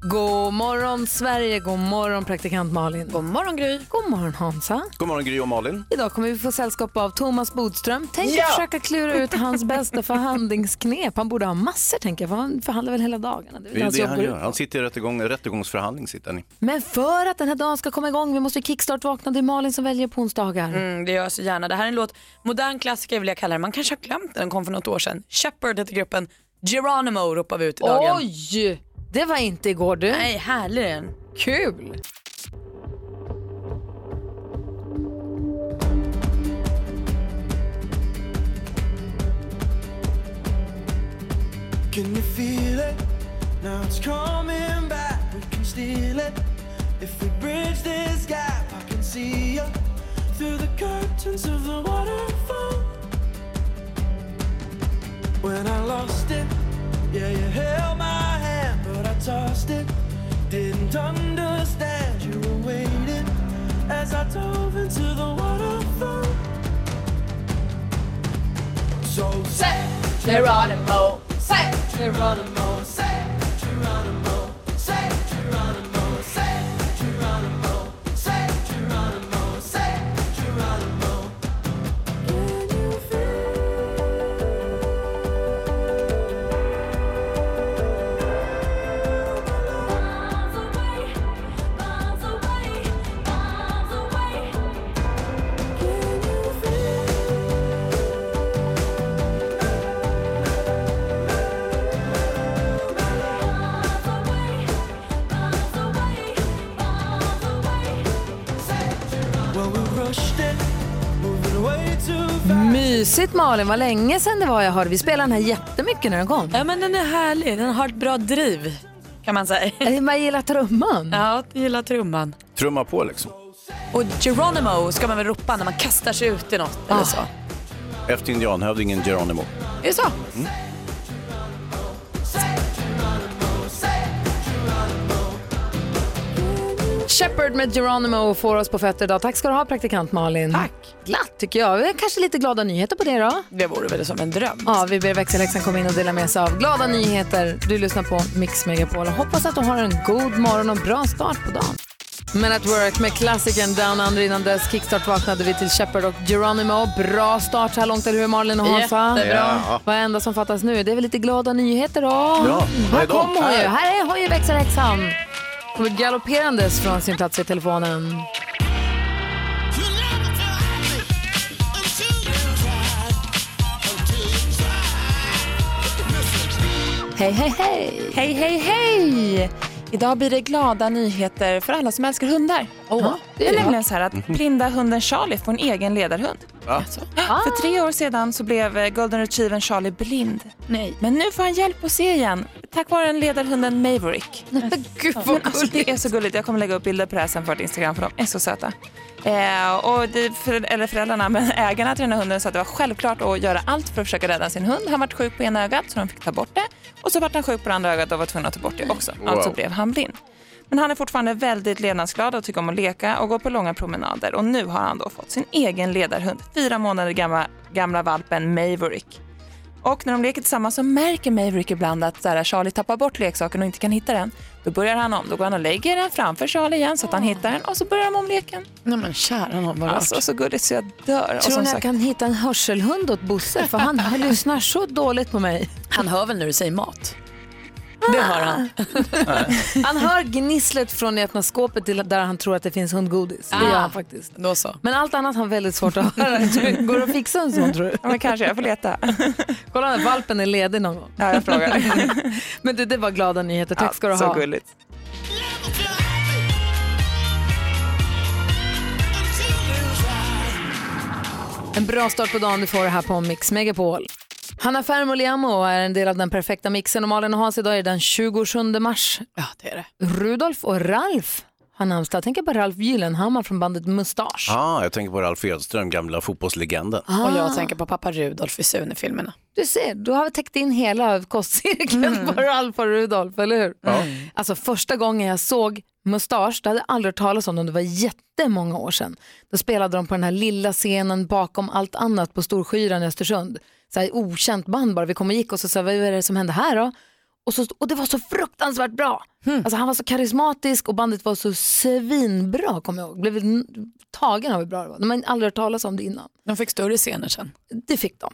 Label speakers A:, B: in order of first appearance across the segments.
A: God morgon Sverige, god morgon praktikant Malin. God morgon Gry. God morgon Hansa.
B: God morgon Gry och Malin.
A: Idag kommer vi få sällskap av Thomas Bodström. Tänk
B: Ja!
A: att försöka klura ut hans bästa förhandlingsknep. Han borde ha massor tänker jag, för han förhandlar väl hela dagarna. väl
B: Det är
A: hans
B: det
A: jobb
B: han
A: går ut
B: gör.
A: på.
B: Han sitter i rättegång, rättegångsförhandling. Sitter han i.
A: Men för att den här dagen ska komma igång, vi måste ju kickstart-vakna. Det är Malin som väljer på onsdagar.
C: Mm, det gör jag så gärna. Det här är en låt, modern klassiker vill jag kalla den. Man kanske har glömt den, den kom för något år sedan. Shepard heter gruppen. Geronimo ropar vi ut i dagen.
A: Oj! Det var inte igår du.
C: Nej, härlig är den.
A: Kul!
D: Can you feel it? Now it's coming back. We can steal it. If we bridge this gap, I can see you through the curtains of the waterfall. When I lost it, yeah, you held my hand, but I tossed it. Didn't understand you were waiting as I dove into the waterfall. So say Geronimo, say Geronimo, say Geronimo, say Geronimo, say Geronimo, say Geronimo, say Geronimo. Can you feel? Well, we rushed it, moving way too fast.
A: Mysigt Malin, vad länge sedan det var jag hörde. Vi spelade den här jättemycket när den kom.
C: Ja, men den är härlig. Den har ett bra driv, kan man säga.
A: Äh, Man gillar trumman.
C: Ja, jag gillar trumman.
B: Trumma på liksom.
C: Och Geronimo ska man väl ropa när man kastar sig ut i något
A: Ah.
C: eller så.
B: Efter indianhövdingen Geronimo.
C: Är det så?
A: Shepard med Geronimo får oss på fötter idag. Tack ska du ha praktikant Malin.
C: Tack.
A: Glatt tycker jag. Vi har Kanske lite glada nyheter på det då.
C: Det vore väl som en dröm.
A: Ja, vi ber växelläxan komma in och dela med sig av glada nyheter. Du lyssnar på Mix Megapol och hoppas att du har en god morgon och bra start på dagen. Men at Work med klassikern Down Under innan dess kickstart vaknade vi till Shepard och Geronimo. Bra start så här långt, eller hur Malin och Hansa?
C: Jättebra.
B: Ja.
A: Vad enda som fattas nu det är väl lite glada nyheter då. Ja,
B: vad
A: här
B: är de?
A: kommer hon ju.
B: Här.
A: Här är hon ju växelhäxan. Kommer galopperandes från sin plats vid telefonen. Hej, hej, hej!
C: Hej, hej, hej! Idag blir det glada nyheter för alla som älskar hundar.
A: Ja,
E: Det
A: det är
E: är
A: det. Mhm.
E: nämligen så här att blinda hunden Charlie får en egen ledarhund.
A: Ah.
E: För tre år sedan så blev eh, golden retrievern Charlie blind.
C: Nej.
E: Men nu får han hjälp att se igen tack vare den ledarhunden Maverick.
A: Men Gud
E: Men
A: vad
E: alltså, det är
A: gulligt.
E: så gulligt. Jag kommer lägga upp bilder på det här sen på vårt Instagram för de är så söta. Eh, och det, för, eller föräldrarna, men ägarna till den här hunden sa att det var självklart att göra allt för att försöka rädda sin hund. Han vart sjuk på ena ögat så de fick ta bort det. Och så vart han sjuk på det andra ögat och var tvungna att ta bort det också. Alltså blev han blind. Men han är fortfarande väldigt levnadsglad och tycker om att leka och gå på långa promenader. Och nu har han då fått sin egen ledarhund, fyra månader gamla, gamla valpen Maverick. Och när de leker tillsammans så märker Maverick ibland att så här, Charlie tappar bort leksaken och inte kan hitta den. Då börjar han om. Då går han och lägger den framför Charlie igen så att han hittar den och så börjar de om leken.
C: Nej men kära nån vad
E: Alltså så gulligt så jag dör. och
A: Tror
E: som
A: ni jag
E: sagt-
A: kan hitta en hörselhund åt Bosse? För han han lyssnar så dåligt på mig.
C: Han hör väl när du säger mat? Det hör han.
A: Han hör gnisslet från det öppna skåpet till där han tror att det finns hundgodis. Det gör han faktiskt.
C: Ah. Då så.
A: Men allt annat har han väldigt svårt att höra. Tror- Går det att fixa en sån tror du?
E: Ja, men kanske, jag får leta.
A: Kolla när valpen är ledig någon gång.
E: Ja, jag frågar.
A: Men du, det var glada nyheter. Tack ska du
E: Så
A: ha.
E: gulligt.
A: En bra start på dagen du får det här på Mix Megapol. Hanna Fermoliamo är en del av den perfekta mixen och Malin och Hans idag är den 27 mars.
C: Ja, det är det.
A: Rudolf och Ralf Han namnsdag. Jag tänker på Ralf Gyllenhammar från bandet Mustasch.
B: Ah, jag tänker på Ralf Edström, gamla fotbollslegenden.
C: Ah. Och jag tänker på pappa Rudolf i Sune-filmerna.
A: Du ser, du har täckt in hela kostcirkeln på Ralf och Rudolf, eller hur? Alltså första gången jag såg Mustasch, det hade jag aldrig hört talas om dem, det var jättemånga år sedan. Då spelade de på den här lilla scenen bakom allt annat på Storskyran i Östersund. Så här okänt band bara, vi kom och gick och så sa vi, vad är det som hände här då? Och, så, och det var så fruktansvärt bra.
C: Hmm.
A: Alltså han var så karismatisk och bandet var så svinbra kommer jag ihåg. Blev n- tagen av hur bra det var. De hade aldrig hört talas om det innan.
C: De fick större scener sen.
A: Det fick de.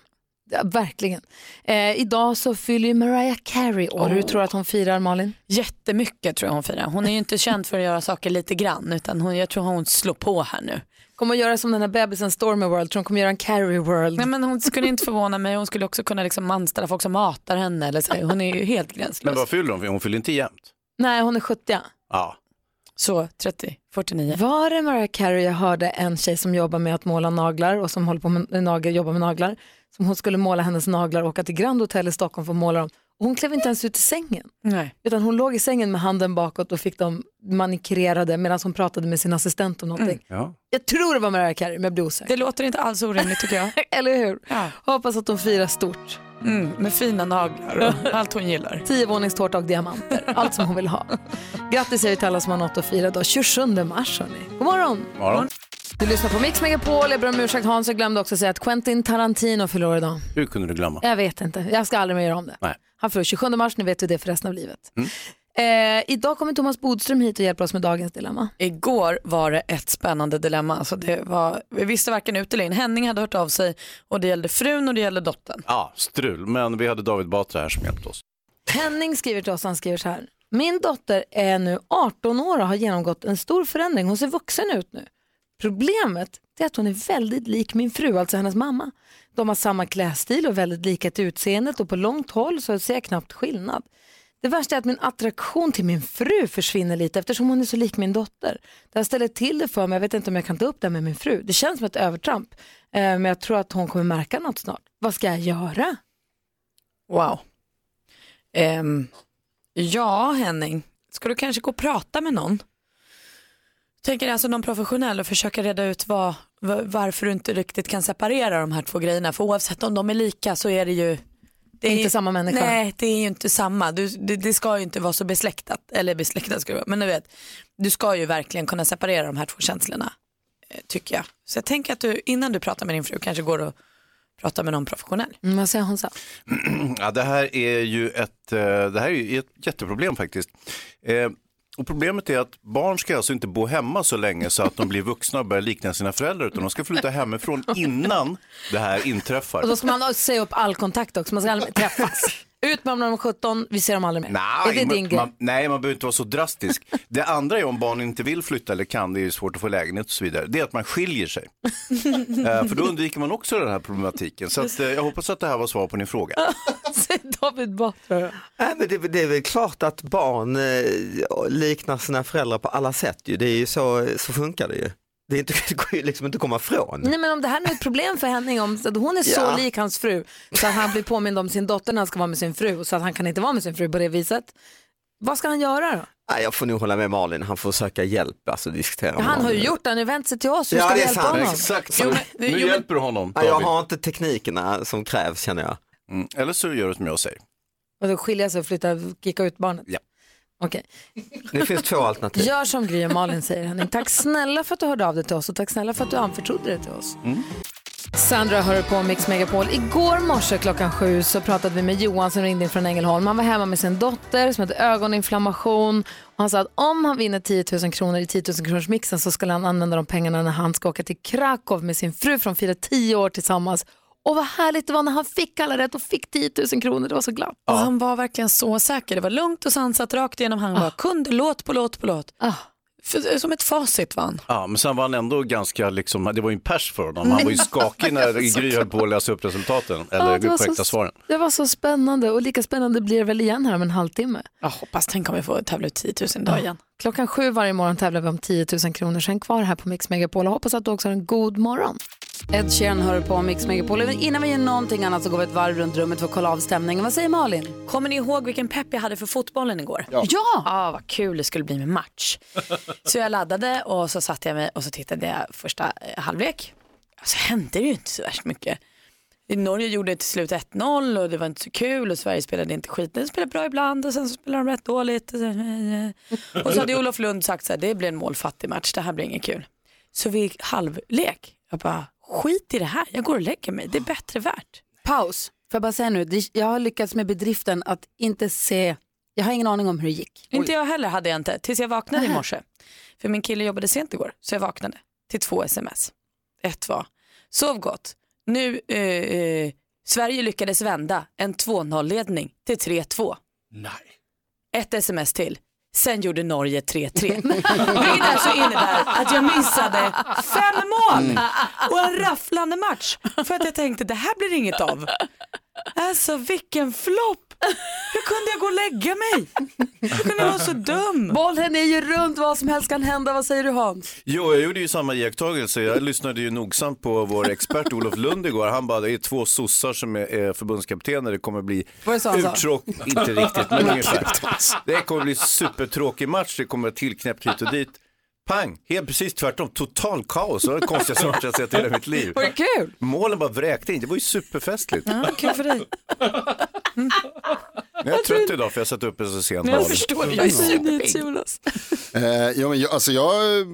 A: Ja, verkligen. Eh, idag så fyller ju Mariah Carey år. Hur tror du att hon firar Malin?
C: Jättemycket tror jag hon firar. Hon är ju inte känd för att göra saker lite grann utan hon, jag tror hon slår på här nu.
A: Kommer att göra som den här bebisen Stormy World, tror hon kommer göra en Carey World.
C: Nej, men hon skulle inte förvåna mig. Hon skulle också kunna liksom anställa folk som matar henne. Eller så. här. Hon är ju helt
B: Men
C: gränslös.
B: vad fyller hon? Hon fyller inte jämnt. Ah,
A: Nej, hon är 70.
B: Ja.
C: Så 30, 49.
A: Var det Mariah Carey jag hörde en tjej som jobbar med att måla naglar och som håller på med nagel, jobbar med naglar. Som hon skulle måla hennes naglar och åka till Grand Hotel i Stockholm för att måla dem. Och hon klev inte ens ut i sängen.
C: Nej.
A: Utan hon låg i sängen med handen bakåt och fick dem manikrerade medan hon pratade med sin assistent om någonting.
B: ja.
A: Jag tror det var Mariah Carey men jag blir osäker.
C: Det låter inte alls orimligt tycker jag.
A: Eller hur?
C: Ja.
A: Hoppas att de firar stort.
C: Mm, med fina naglar och allt hon gillar.
A: Tiovåningstårta och diamanter. Allt som hon vill ha. Grattis säger vi till alla som har något att fira idag. 27 mars hörni. God morgon!
C: Mm.
B: Morgon.
A: Du lyssnar på Mix Megapol. Jag ber om ursäkt Hans, jag glömde också säga att Quentin Tarantino fyller år idag.
B: Hur kunde du glömma?
A: Jag vet inte, jag ska aldrig mer göra om det.
B: Nej.
A: Han fyller 27 mars, nu vet du det för resten av livet. Eh, idag kommer Thomas Bodström hit och hjälper oss med dagens dilemma.
C: Igår var det ett spännande dilemma. Alltså det var, vi visste varken ut eller in. Henning hade hört av sig och det gällde frun och det gällde dottern.
B: Ja, Ah, strul. Men vi hade David Batra här som hjälpte oss.
A: Henning skriver till oss, han skriver så här. Min dotter är nu 18 år och har genomgått en stor förändring. Hon ser vuxen ut nu. Problemet är att hon är väldigt lik min fru, alltså hennes mamma. De har samma klädstil och väldigt lika till utseendet och på långt håll så ser jag knappt skillnad. Det värsta är att min attraktion till min fru försvinner lite eftersom hon är så lik min dotter. Det här ställer till det för mig, jag vet inte om jag kan ta upp det här med min fru. Det känns som ett övertramp, eh, men jag tror att hon kommer märka något snart. Vad ska jag göra?
C: Wow. Ehm, ja, Henning, ska du kanske gå och prata med någon? Tänker alltså någon professionell och försöka reda ut vad, va- varför du inte riktigt kan separera de här två grejerna. För oavsett om de är lika så är det ju... Det är
A: Inte
C: ju-
A: samma människa.
C: Nej, det är ju inte samma. Du, det, det ska ju inte vara så besläktat. Eller besläktat ska det vara, men du vet. Du ska ju verkligen kunna separera de här två känslorna, eh, tycker jag. Så jag tänker att du, innan du pratar med din fru, kanske går och pratar med någon professionell.
A: Mm, Vad säger hon så?
B: Ja, det här är ju ett, eh, det här är ju ett jätteproblem faktiskt. Eh, Och problemet är att barn ska alltså inte bo hemma så länge så att de blir vuxna och börjar likna sina föräldrar utan de ska flytta hemifrån innan det här inträffar.
A: Och då ska man säga upp all kontakt också, man ska aldrig mer träffas. Ut med dem när de är 17, vi ser dem aldrig mer.
B: Nej,
A: är det
B: man,
A: din grej?
B: man, nej, man behöver inte vara så drastisk. Det andra är om barnen inte vill flytta eller kan, det är ju svårt att få lägenhet och så vidare, det är att man skiljer sig. Eh, För då undviker man också den här problematiken. Så att, eh, jag hoppas att det här var svar på din fråga.
A: Säger David Batra. då.
F: Nej, men det, det är väl klart att barn eh, liknar sina föräldrar på alla sätt. Ju. Det är ju så, så funkar det ju. Det, är inte, det går ju liksom inte att komma ifrån.
A: Nej men om det här nu är ett problem för Henning, om så att hon är så
F: Ja.
A: lik hans fru så att han blir påmind om sin dotter när han ska vara med sin fru och så att han kan inte vara med sin fru på det viset. Vad ska han göra då?
F: Nej, jag får nog hålla med Malin, han får söka hjälp, alltså diskutera med
A: Han har
F: Malin.
A: ju gjort det, han har ju vänt sig till oss, hur
F: Ja,
A: ska vi
F: det är
A: hjälpa
F: sant.
A: honom?
B: Exakt,
C: Jo, men-
B: nu
C: jo, men-
B: hjälper du honom
F: Nej, jag
B: David.
F: har inte teknikerna som krävs känner jag.
B: Mm. Eller så gör du som jag säger.
A: Och då skilja sig och flytta, kicka ut barnet?
B: Ja.
A: Okej.
F: Det finns två alternativ.
A: Gör som Gry och Malin säger Henning. Tack snälla för att du hörde av dig till oss och tack snälla för att du anförtrodde det till oss.
B: Mm.
A: Sandra hör på Mix Megapol. Igår morse klockan sju så pratade vi med Johan som ringde in från Ängelholm. Han var hemma med sin dotter som hade ögoninflammation. Och han sa att om han vinner 10 000 kronor i 10 000 kronors mixen så skulle han använda de pengarna när han ska åka till Krakow med sin fru från firar 10 år tillsammans. Och vad härligt det var när han fick alla rätt och fick 10 000 kronor. Det var så glatt.
C: Och han var verkligen så säker. Det var lugnt och sansat rakt igenom. Han bara kunde låt på låt på låt.
A: Ah.
C: För, eh, som ett facit vann.
A: Typ.
B: Ja, men sen var han ändå ganska, liksom, det var ju en pers för honom. Han var ju skakig när Gry höll på att läsa upp resultaten, eller
A: Mm. Ja,
B: de korrekta svaren.
A: det var så spännande och lika spännande blir det väl igen här om en halvtimme.
C: Jag hoppas, tänk om vi får tävla ut 10 000 idag igen.
A: Klockan sju varje morgon tävlar vi om 10 000 kronor sen kvar här på Mix Megapol och hoppas att du också har en god morgon. Ed Sheeran hör på Mix Megapol. Men Innan vi gör någonting annat så går vi ett varv runt rummet för att kolla av stämningen. Vad säger Malin?
C: Kommer ni ihåg vilken pepp jag hade för fotbollen igår?
A: Ja. Ja,
C: Ah, vad kul det skulle bli med match. Så jag laddade och så satte jag mig och så tittade jag första eh, halvlek. Så hände det ju inte så värst mycket. Norge gjorde till slut 1-0 och det var inte så kul och Sverige spelade inte skit. De spelade bra ibland och sen så spelade de rätt dåligt. Och så, och så hade Olof Lund sagt så här, det blir en målfattig match, det här blir inget kul. Så vi gick halvlek. Jag bara, skit i det här, jag går och lägger mig, det är bättre värt.
A: Paus. Får jag bara säga nu, det- jag har lyckats med bedriften att inte se, jag har ingen aning om hur det gick.
C: Inte jag heller hade jag inte, tills jag vaknade i morse. För min kille jobbade sent igår, så jag vaknade till två sms. Ett var, sov gott, nu, eh, eh, Sverige lyckades vända en 2-0-ledning till 3-2. Nej. Ett sms till, sen gjorde Norge 3-3. Vilket alltså innebär att jag missade fem mål och en rafflande match. För att jag tänkte, det här blir inget av. Alltså vilken flopp! Hur kunde jag gå och lägga mig? Hur kunde jag vara så dum?
A: Bollen är ju runt, vad som helst kan hända. Vad säger du Hans?
B: Jo, jag gjorde ju samma iakttagelse. Jag lyssnade ju nogsamt på vår expert Olof Lund igår. Han bara, det är två sossar som är eh, förbundskaptener. Det kommer bli
A: Vad sa han sa?
B: uttråk... Inte riktigt, men ungefär. Det kommer bli supertråkig match. Det kommer tillknäppt hit och dit. Pang, helt precis tvärtom. Total kaos. Det var det konstigaste match jag sett i hela mitt liv.
A: Var det kul?
B: Målen bara vräkte in. Det var ju superfestligt.
C: Ja, kul för dig.
B: Jag är trött idag för jag satt uppe så sent. Mm.
C: Jag förstår, jag är superpigg.
G: Eh, ja, men jag, alltså jag eh,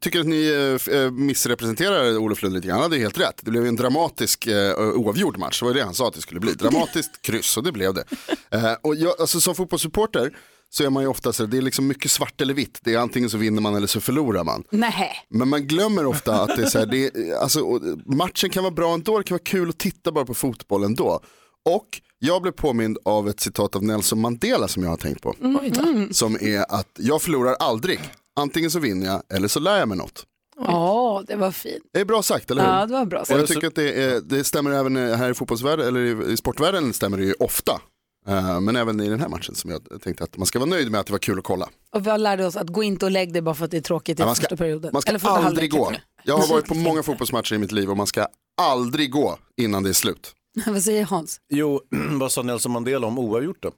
G: tycker att ni eh, f- eh, missrepresenterar Olof Lund lite grann. Han hade ju helt rätt. Det blev ju en dramatisk eh, oavgjord match. Det var ju det han sa att det skulle bli. Dramatiskt kryss och det blev det. Eh, och jag, alltså, som fotbollssupporter så är man ju ofta så det är liksom mycket svart eller vitt. Det är antingen så vinner man eller så förlorar man.
A: Nej.
G: Men man glömmer ofta att det är så här, det är, alltså, och matchen kan vara bra ändå, det kan vara kul att titta bara på fotboll ändå. Och jag blev påmind av ett citat av Nelson Mandela som jag har tänkt på.
A: Mm,
G: Som är att jag förlorar aldrig, antingen så vinner jag eller så lär jag mig något.
A: Ja, det var fint.
G: Det är bra sagt, eller hur?
A: Ja, det var bra.
G: Och jag tycker att det, är, det stämmer även här i fotbollsvärlden, eller i- i sportvärlden stämmer det ju ofta. Eh, Men även i den här matchen som jag tänkte att man ska vara nöjd med att det var kul att kolla.
A: Och vi har lärde oss att gå inte och lägg dig bara för att det är tråkigt i
G: Ja, man ska-
A: första perioden.
G: Man ska
A: första
G: aldrig
A: halvleken,
G: gå.
A: tror jag.
G: Jag har varit på många fotbollsmatcher i mitt liv och man ska aldrig gå innan det är slut.
A: Vad säger Hans?
B: Jo, vad sa Nelson Mandela om oavgjort då?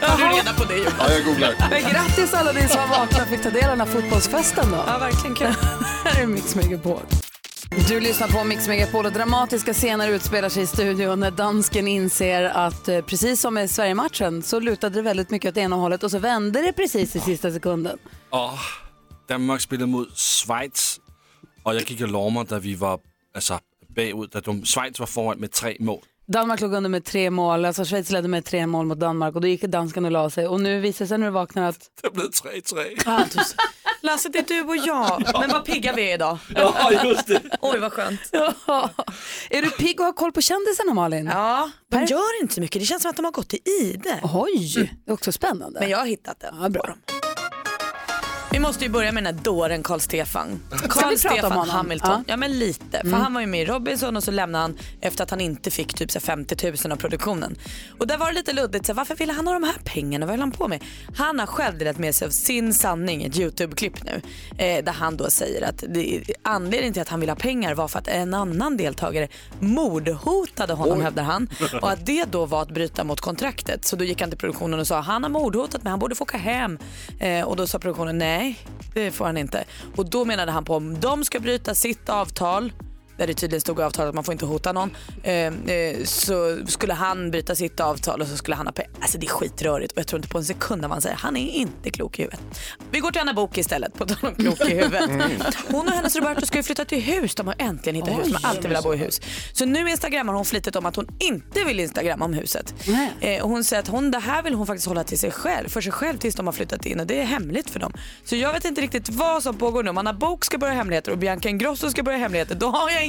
G: Ja, jag googlar.
A: Men grattis alla ni som var vakna och fick ta del av den här fotbollsfesten då.
C: Ja, verkligen kul.
A: Här är Mix Megapol. Du lyssnar på Mix Megapol och dramatiska scener utspelar sig i studion när dansken inser att eh, precis som med Sverigematchen så lutade det väldigt mycket åt ena hållet och så vände det precis i sista sekunden.
H: Og Danmark spillede mod Schweiz. Og jeg gik og lover mig, da vi var altså, bagud, da dum- Schweiz var foran med tre mål.
A: Danmark låg under med tre mål, alltså Schweiz ledde med tre mål mot Danmark och då gick dansken och la sig och nu visar det sig när du vaknar att
H: Det blev 3-3.
A: ah, tus-
C: Lasse, det är du och jag. Men vad pigga vi är idag.
H: Ja, just det.
C: Oj, vad skönt.
A: Ja. Är du pigg och har koll på kändisarna Malin?
C: Ja, de gör inte så mycket. Det känns som att de har gått i ide. Mm.
A: Oj, det är också spännande.
C: Men jag har hittat den.
A: Ja, bra.
C: Vi måste ju börja med den här dåren Carl Stefan. Carl
A: vi prata om
C: Stefan
A: honom?
C: Hamilton.
A: Ja. Mm.
C: Ja. men lite. För han var ju med i Robinson och så lämnade han efter att han inte fick typ så här 50 000 av produktionen. Och där var det lite luddigt. Så här, varför ville han ha de här pengarna? Vad höll han på med? Han har själv delat med sig av sin sanning i ett YouTube-klipp nu. Eh, där han då säger att det, anledningen till att han ville ha pengar var för att en annan deltagare mordhotade honom hävdar han. Och att det då var att bryta mot kontraktet. Så då gick han till produktionen och sa han har mordhotat men han borde få åka hem. Eh, och då sa produktionen nej det får han inte. Och då menade han på om de ska bryta sitt avtal där det tydligen stod i avtalet att man får inte hota någon. Eh, eh, så skulle han bryta sitt avtal och så skulle han ha pengar. Alltså det är skitrörigt och jag tror inte på en sekund av vad han säger. Han är inte klok i huvudet. Vi går till Anna Book istället på tal om klok i huvudet. Hon och hennes Roberto ska ju flytta till hus. De har äntligen hittat hus. De har alltid velat bo i hus. Så nu instagrammar hon flitigt om att hon inte vill instagramma om huset. Eh, och hon säger att hon, det här vill hon faktiskt hålla till sig själv, för sig själv tills de har flyttat in och det är hemligt för dem. Så jag vet inte riktigt vad som pågår nu. Om Anna Book ska börja hemligheter och Bianca Ingrosso ska börja hemligheter, då har jag ingenting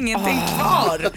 A: Ah.
C: kvar.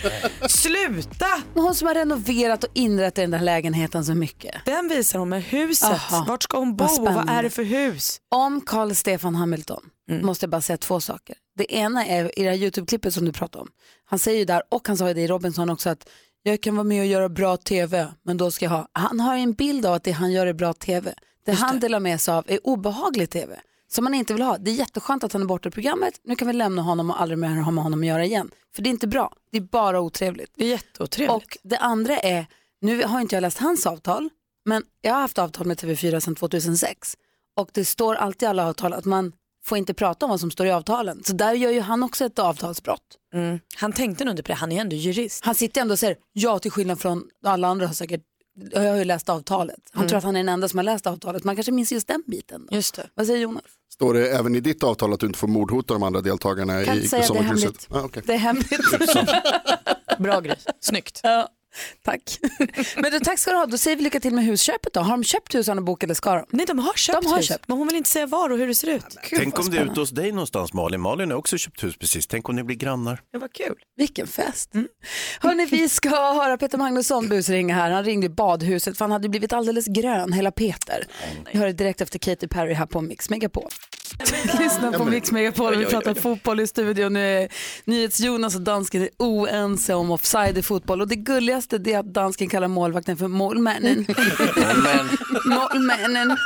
C: Sluta!
A: Men hon som har renoverat och inrett i den där lägenheten så mycket.
C: Den visar hon med huset.
A: Aha.
C: Vart ska hon bo
A: Vad
C: och vad
A: spännande.
C: är det för hus?
A: Mm.
C: Mm.
A: Om Carl Stefan Hamilton måste jag bara säga två saker. Det ena är i det här YouTube-klippet som du pratade om. Han säger ju där, och han sa ju det i Robinson också, att jag kan vara med och göra bra tv, men då ska jag ha... Han har ju en bild av att det han gör är bra tv. Det han delar med sig av är obehaglig tv. som man inte vill ha. Det är jätteskönt att han är borta ur programmet. Nu kan vi lämna honom och aldrig mer ha med honom att göra igen. För det är inte bra. Det är bara otrevligt.
C: Det är jätteotrevligt.
A: Och det andra är, nu har inte jag läst hans avtal, men jag har haft avtal med TV4 sedan 2006. Och det står alltid i alla avtal att man får inte prata om vad som står i avtalen. Så där gör ju han också ett avtalsbrott.
C: Mm. Han tänkte nog inte på det, han är ändå jurist.
A: Han sitter ändå och säger, ja till skillnad från alla andra har säkert, jag har ju läst avtalet. Han
C: Mm.
A: tror att han är den enda som har läst avtalet. Man kanske minns just den biten. Då.
C: Just det.
A: Vad säger Jonas?
G: Står det även i ditt avtal att du inte får mordhota de andra deltagarna
A: Kan
G: i
A: inte säga, det är
G: sommarkrysset?
A: hemligt.
G: Ah, okej.
A: Det är hemligt.
C: Bra grej, snyggt.
A: Ja, tack. Men du, tack ska du ha. Då säger vi lycka till med husköpet då. Har de köpt hus Anna Book eller ska de?
C: Nej, de har köpt
A: de har
C: hus.
A: Köpt.
C: Men hon vill inte säga var och hur det ser ut.
B: Tänk om det är ute hos dig någonstans Malin. Malin har också köpt hus precis. Tänk om ni blir grannar.
C: Det var kul.
A: Vilken fest. Hörni, vi ska höra Peter Magnusson busringa här. Han ringde i badhuset för han hade blivit alldeles grön, hela Peter. Vi hör det direkt efter Katy Perry här på Mix Megapol. Lyssna på Mix Megapol, vi pratar fotboll i studion. Nu är NyhetsJonas och dansken är oense om offside i fotboll och det gulligaste det är att dansken kallar målvakten för målmännen. målmännen,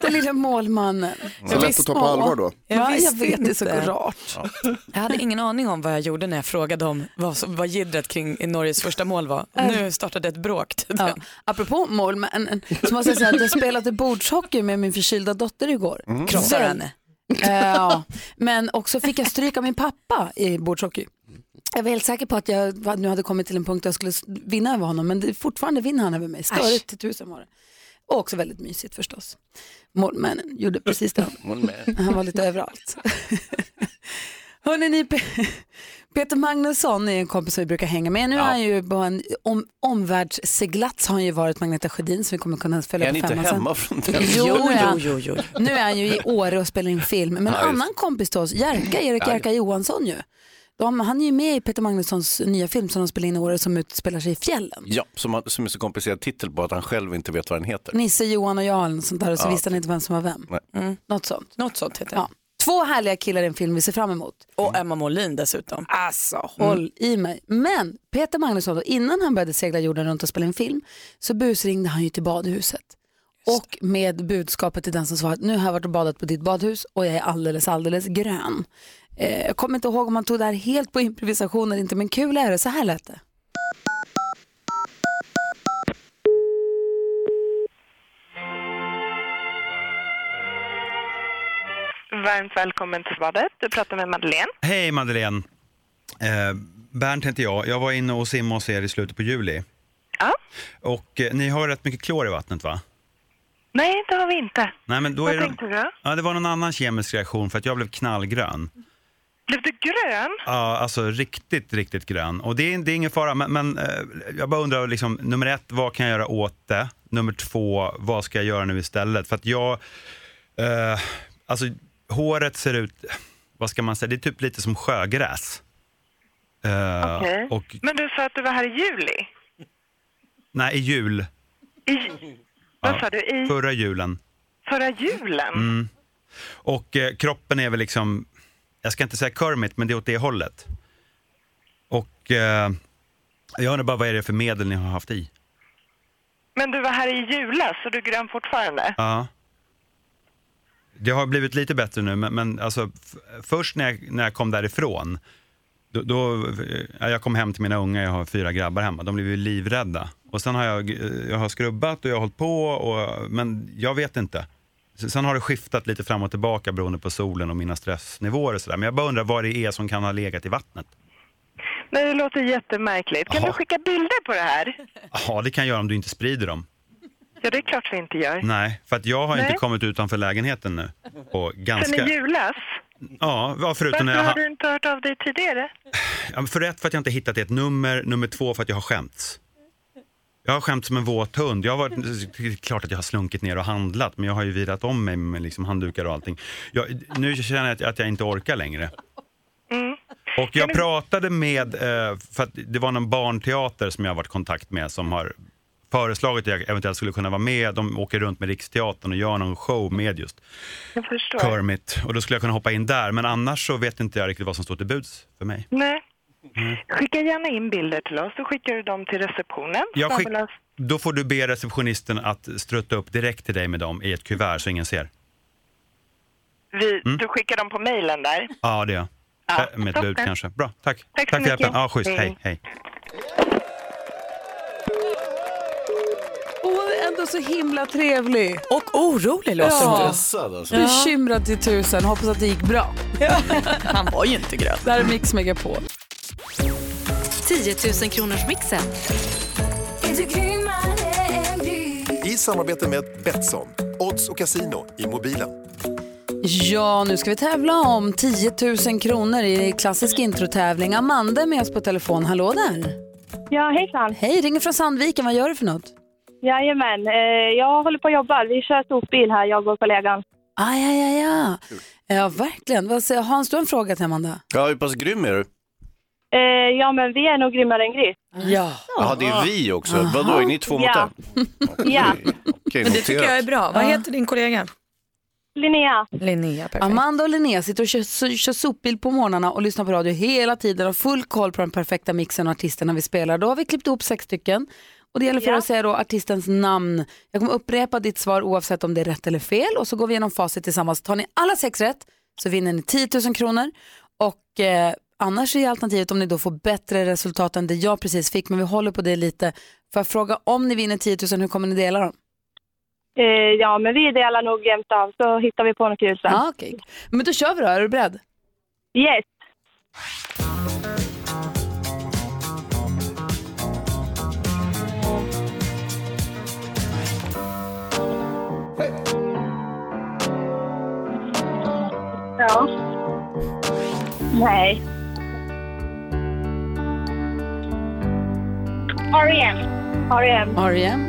A: den lilla målmannen.
G: Så lätt att ta på allvar då.
A: Ja, jag vet, det är så rart.
C: Jag hade ingen aning om vad jag gjorde när jag frågade om vad, som- vad jiddret kring Norges första mål var.
A: Äh.
C: Nu startade ett bråk.
A: Ja. Apropå målmännen, så måste jag säga att jag spelade bordshockey med min förkylda dotter igår.
C: Mm. Krossar henne.
A: Eh, Ja, men också fick jag stryka min pappa i bordshockey. Jag var helt säker på att jag var- nu hade kommit till en punkt där jag skulle s- vinna över honom, men det, fortfarande vinner han över mig. Störigt till tusen var det. Och också väldigt mysigt förstås. Målmännen gjorde precis det. Han var lite överallt. Hörrni, ni, Pe- Peter Magnusson är en kompis som vi brukar hänga med. Nu är han ju på en om, omvärldsseglats, har han ju varit Magneta Sjödin, så vi kommer kunna
B: Är
A: följa
B: han
A: på
B: inte
A: femman
B: hemma från den?
A: Jo, Jo, ja. jo, nu är han ju i Åre och spelar in film. Men en
B: Ja, just.
A: annan kompis till oss, Jerka, Erik
B: Ja,
A: Jerka Johansson ju. De, han är ju med i Peter Magnussons nya film som de spelar in i Åre som utspelar sig i fjällen.
B: Ja, som, har- som är så komplicerad titel på att han själv inte vet vad den heter.
A: Nisse, Johan och jag eller något sånt där och så
B: Ja.
A: visste han inte vem som var vem.
B: Nej.
C: Mm.
A: Något sånt.
C: Något sånt heter
A: ja. Två härliga killar i en film vi ser fram emot.
C: Och Emma Molin dessutom. Mm.
A: Alltså, Håll i mig. Men Peter Magnusson, då, innan han började segla jorden runt och spela in film så busringde han ju till badhuset. Och med budskapet till den som svarade, nu har jag varit och badat på ditt badhus och jag är alldeles, alldeles grön. Eh, jag kommer inte ihåg om han tog det här helt på improvisation eller inte, men kul är det. Så här lät det.
I: Varmt välkommen till badet. Du pratar med Madeleine.
J: Hej Madeleine. Eh, Bernt heter jag. Jag var inne och simmade hos er i slutet på juli.
I: Ja.
J: Och eh, ni har rätt mycket klor i vattnet va?
I: Nej, det har vi inte.
J: Nej, men då
I: Vad
J: är
I: tänkte
J: det...
I: du?
J: Ja, det var någon annan kemisk reaktion för att jag blev knallgrön.
I: Blev du grön?
J: Ja, alltså riktigt, riktigt grön. Och det är, det är ingen fara, men, men eh, jag bara undrar liksom, nummer ett, vad kan jag göra åt det? Nummer två, vad ska jag göra nu istället? För att jag, eh, alltså håret ser ut, vad ska man säga, det är typ lite som sjögräs. Eh,
I: Okej.
J: Och
I: Men du sa att du var här i juli.
J: nej, i jul,
I: I... Vad sa du? I
J: förra julen.
I: förra julen?
J: Mm. Och eh, kroppen är väl liksom, jag ska inte säga Kermit, men det är åt det hållet. Och eh, jag undrar bara vad är det för medel ni har haft i?
I: Men du var här i julas, så du är grön fortfarande?
J: Ja. Det har blivit lite bättre nu, men, men alltså, f- först när jag, när jag kom därifrån, då, då, ja, jag kom hem till mina unga, jag har fyra grabbar hemma, de blev ju livrädda. Och sen har jag, eh, jag har skrubbat och jag har hållit på, och, men jag vet inte. S- Sen har det skiftat lite fram och tillbaka beroende på solen och mina stressnivåer och sådär. Men jag bara undrar vad det är som kan ha legat i vattnet.
I: Nej, det låter jättemärkligt. Kan du skicka bilder på det här?
J: Ja, det kan jag göra om du inte sprider dem.
I: Ja, det är klart vi inte gör.
J: Nej, för att jag har
I: Nej.
J: inte kommit utanför lägenheten nu. Och
I: Sen
J: ganska...
I: i julas?
J: Ja, ja, förutom när
I: Varför
J: jag... ha-
I: har du inte hört av dig tidigare?
J: Ja, men för ett, för att jag inte hittat ett nummer. Nummer två, för att jag har skämts. Jag har skämts som en våt hund. Jag har varit, det är klart att jag har slunkit ner och handlat, men jag har ju virat om mig med liksom handdukar och allting. Jag, nu känner jag att, att jag inte orkar längre. Och jag pratade med, eh, för att det var någon barnteater som jag har varit i kontakt med som har föreslagit att jag eventuellt skulle kunna vara med. De åker runt med Riksteatern och gör någon show med just
I: Jag förstår.
J: Kermit. Och då skulle jag kunna hoppa in där, men annars så vet inte jag riktigt vad som står till buds för mig.
I: Nej.
J: Mm.
I: Skicka gärna in bilder till oss, så skickar du dem till receptionen.
J: Jag skick...
I: Snabel-as-
J: Då får du be receptionisten att strutta upp direkt till dig med dem i ett kuvert så ingen ser.
I: Vi,
J: Mm.
I: Du skickar dem på mejlen där.
J: Ja, det är jag.
I: Ja,
J: Äh, Med ett bud
I: toppen.
J: kanske. Bra, tack.
I: Tack så
J: för
I: mycket.
J: hjälpen. Ja, schysst. Hej,
I: Hej.
J: hej.
A: Och ändå så himla trevlig.
C: Och orolig låter
A: ja.
C: hon.
B: Stressad, alltså.
A: Bekymrad till tusen. Hoppas att det gick bra.
C: Han var ju inte grön.
A: Där är Mix Megapol.
K: 10 000 kronors mixen.
L: I samarbete med Betsson, odds och casino i mobilen.
A: Ja, nu ska vi tävla om 10 000 kronor i klassisk introtävling. Amanda är med oss på telefon. Hallå där!
M: Ja, hejsan.
A: Hej, ringer från Sandviken. Vad gör du för något?
M: Jajamän, eh, jag håller på och jobbar. Vi kör sopbil här, jag och kollegan.
A: Aj, aj, aj, aj. Ja, verkligen. Vad säger Hans, du har en fråga till Amanda.
B: Ja, hur pass grym är du?
M: Eh, ja, men vi är nog grymmare än gris.
A: Ja.
B: Jaha, det är vi också.
M: Aha.
B: Vadå, är ni två mot
M: Ja.
B: en?
M: Ja,
B: Okej,
C: Men det tycker
B: noterat.
C: jag är bra. Vad
A: Ja.
C: heter din kollega?
M: Linnea.
C: Linnea, perfekt.
A: Amanda och Linnea sitter och kör, kör sopbil på morgnarna och lyssnar på radio hela tiden och har full koll på den perfekta mixen och artisterna vi spelar. Då har vi klippt ihop sex stycken och det gäller för er att säga då artistens namn. Jag kommer upprepa ditt svar oavsett om det är rätt eller fel och så går vi igenom facit tillsammans. Tar ni alla sex rätt så vinner ni 10 000 kronor och eh, annars är alternativet om ni då får bättre resultat än det jag precis fick men vi håller på det lite. Får jag fråga om ni vinner 10 000 hur kommer ni dela dem?
M: Eh, ja, men vi delar nog jämt av, så hittar vi på något kul sen.
A: Ja, Ah, okej. Men då kör vi då, är du beredd?
M: Yes. Ja. Nej. R.E.M.
N: E
M: R.E.M.
A: R.E.M.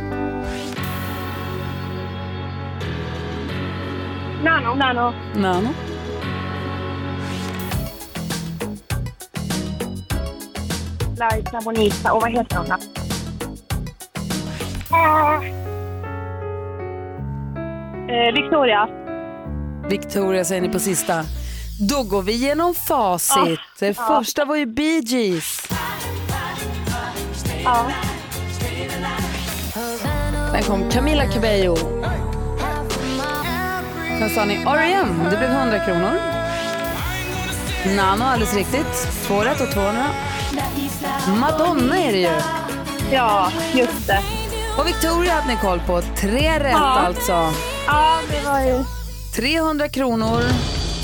M: Nano. Nano.
A: Nano?
M: Liza Bonita. Och vad heter hon då? Ah. Eh, Victoria.
A: Victoria säger ni på sista. Då går vi igenom facit.
M: Ja.
A: Det första var ju Bee Gees.
M: Ja.
A: Sen kom Camila Cabello. Sen sa ni R.E.M. Det blev 100 kronor. Nano, alldeles riktigt. Två rätt och 200. Madonna är det ju.
M: Ja, just det.
A: Och Victoria hade ni koll på. Tre rätt
M: Ja.
A: alltså.
M: Ja, det var ju...
A: 300 kronor.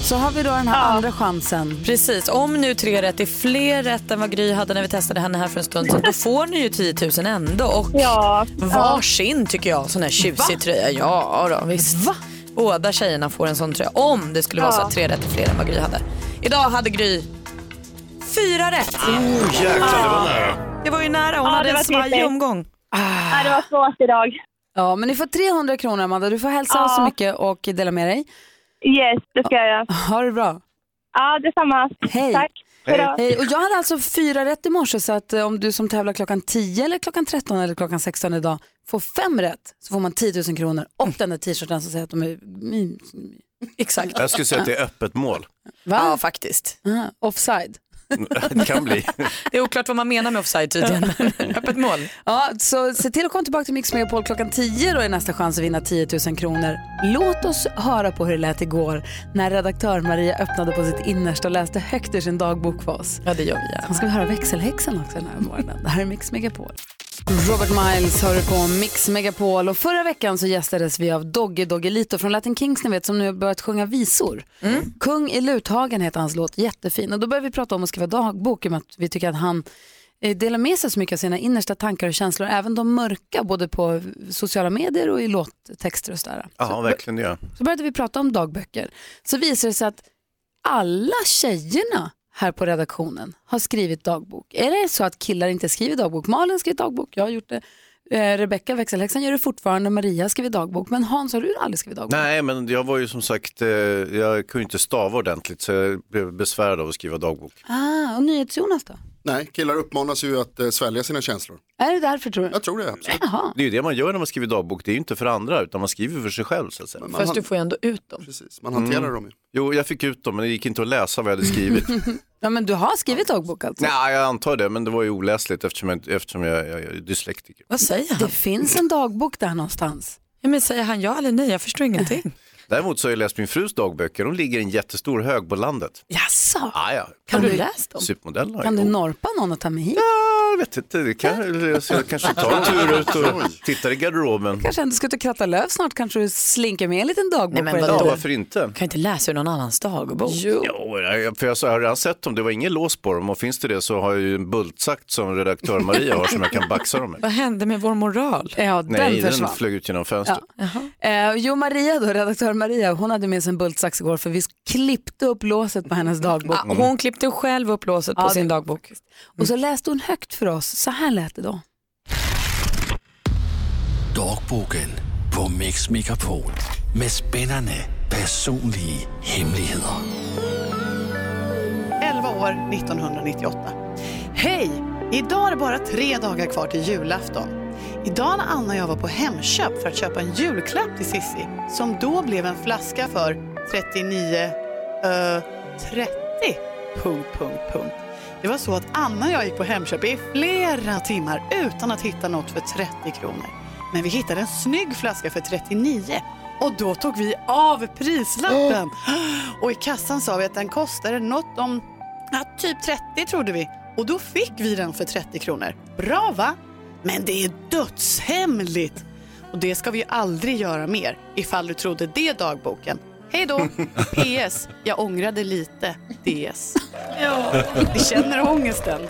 A: Så har vi då den här andra chansen.
C: Precis, om nu tre rätt är fler rätt än vad Gry hade när vi testade henne här för en stund sedan, då får ni ju 10 000 ändå. Och
M: ja.
C: varsin tycker jag, sån här tjusig tröja. Ja då, visst. Båda tjejerna får en sån tröja, om det skulle vara så
M: Ja.
C: att tre rätt är fler än vad Gry hade. Idag hade Gry fyra rätt.
B: Oh, jäklar, det var nära.
C: Det var ju nära, hon
M: Ja,
C: hade
M: det
C: en
M: var
C: svajig
M: trippigt.
C: omgång.
A: Ah.
M: det var svårt idag.
A: Ja, men ni får 300 kronor Amanda. Du får hälsa oss så mycket och dela med dig.
M: Yes, det ska jag göra.
A: Ha det bra.
M: Ja, detsamma.
A: Hej.
M: Tack. Hej då.
A: Hej. Och jag hade alltså fyra rätt i morse så att eh, om du som tävlar klockan 10 eller klockan 13 eller klockan 16 idag får fem rätt så får man 10 000 kronor och den där t-shirten som säger att de är... mm,
C: Exakt.
B: Jag skulle säga att det är öppet mål.
A: Va?
C: Ja, faktiskt.
A: Aha, offside.
B: Det kan bli.
C: Det är oklart vad man menar med offside tydligen. Öppet mål.
A: Ja, så se till att komma tillbaka till Mix Megapol klockan 10 då är nästa chans att vinna 10 000 kronor. Låt oss höra på hur det lät igår när redaktör Maria öppnade på sitt innersta och läste högt ur sin dagbok för oss.
C: Ja, det gör vi.
A: Sen ska vi höra växelhäxan också den här morgonen. Det här är Mix Megapol. Robert Miles hör du på Mix Megapol och förra veckan så gästades vi av Dogge Doggelito från Latin Kings ni vet som nu har börjat sjunga visor. Kung i Luthagen heter hans låt, jättefin. Och då började vi prata om att skriva dagbok i och med att vi tycker att han eh, delar med sig så mycket av sina innersta tankar och känslor, även de mörka, både på sociala medier och i låttexter och sådär.
B: Ja, verkligen det gör.
A: Så började vi prata om dagböcker. Så visade det sig att alla tjejerna här på redaktionen har skrivit dagbok. Är det så att killar inte skriver dagbok? Malin har skrivit dagbok, jag har gjort det. Eh, Rebecka, växelhäxan, gör det fortfarande. Maria har skrivit dagbok. Men Hans, har du aldrig skrivit dagbok?
B: Nej, men jag var ju som sagt, eh, jag kunde inte stava ordentligt så jag blev besvärad av att skriva dagbok.
A: Ah, och NyhetsJonas då?
G: Nej, killar uppmanas ju att eh, svälja sina känslor.
A: Är det därför tror du?
G: Jag tror det, absolut.
A: Jaha.
B: Det är ju det man gör när man skriver dagbok, det är ju inte för andra utan man skriver för sig själv så att säga.
C: Fast du får ju ändå ut dem.
G: Precis, man hanterar
B: Mm.
G: dem ju.
B: Jo, jag fick ut dem men det gick inte att läsa vad jag hade skrivit.
A: Ja, men du har skrivit dagbok alltså?
B: Nej, jag antar det, men det var ju oläsligt eftersom jag, eftersom jag, jag, jag är dyslektiker.
C: Vad säger han?
A: Det finns en dagbok där någonstans.
C: Ja, men säger han ja eller nej? Jag förstår ingenting.
B: Däremot så har jag läst min frus dagböcker. De ligger i en jättestor hög på landet.
A: Jaså?
B: Ah, ja.
A: Kan du läsa dem?
B: Supermodell har jag
A: Kan du
B: gjort.
A: norpa någon att ta med hit?
B: Jag vet inte, det kan, jag ska kanske tar en tur ut och tittar i garderoben.
A: Kanske ändå ska ut och kratta löv snart, kanske du slinker med en liten dagbok på
B: ja,
A: dag.
B: varför inte?
C: Kan inte läsa ur någon annans dagbok?
B: Jo, jag- för jag har redan sett dem, det var ingen lås på dem och finns det det så har jag ju en bultsax som redaktör Maria har som jag kan baxa dem med.
C: Vad hände med vår moral?
A: Ja,
B: Nej,
A: den
B: den
A: försvann.
B: flög ut genom fönstret.
A: Eh, jo, Maria då, redaktör Maria, hon hade med sig en bultsax igår för vi klippte upp låset på hennes dagbok.
B: Mm.
C: Ah, hon klippte själv upp låset på
A: Ja,
C: sin
A: det-
C: dagbok.
A: Och så läste hon högt för oss, så här lät det då.
O: Dogbogen på Mix Megapol med spännande personliga hemligheter.
P: 11 år 1998. Hej! Idag är det bara tre dagar kvar till julafton. Idag när Anna och jag var på Hemköp för att köpa en julklapp till Sissi som då blev en flaska för 39... eh, 30... Punkt, punkt, punkt. Det var så att Anna och jag gick på Hemköp i flera timmar utan att hitta något för 30 kronor. Men vi hittade en snygg flaska för 39 och då tog vi av prislappen. Och i kassan sa vi att den kostade något om ja, typ 30 trodde vi. Och då fick vi den för 30 kronor. Bra va? Men det är dödshemligt. Och det ska vi ju aldrig göra mer ifall du trodde det dagboken. Hej då! PS. Jag ångrade lite. DS. Ni känner ångesten.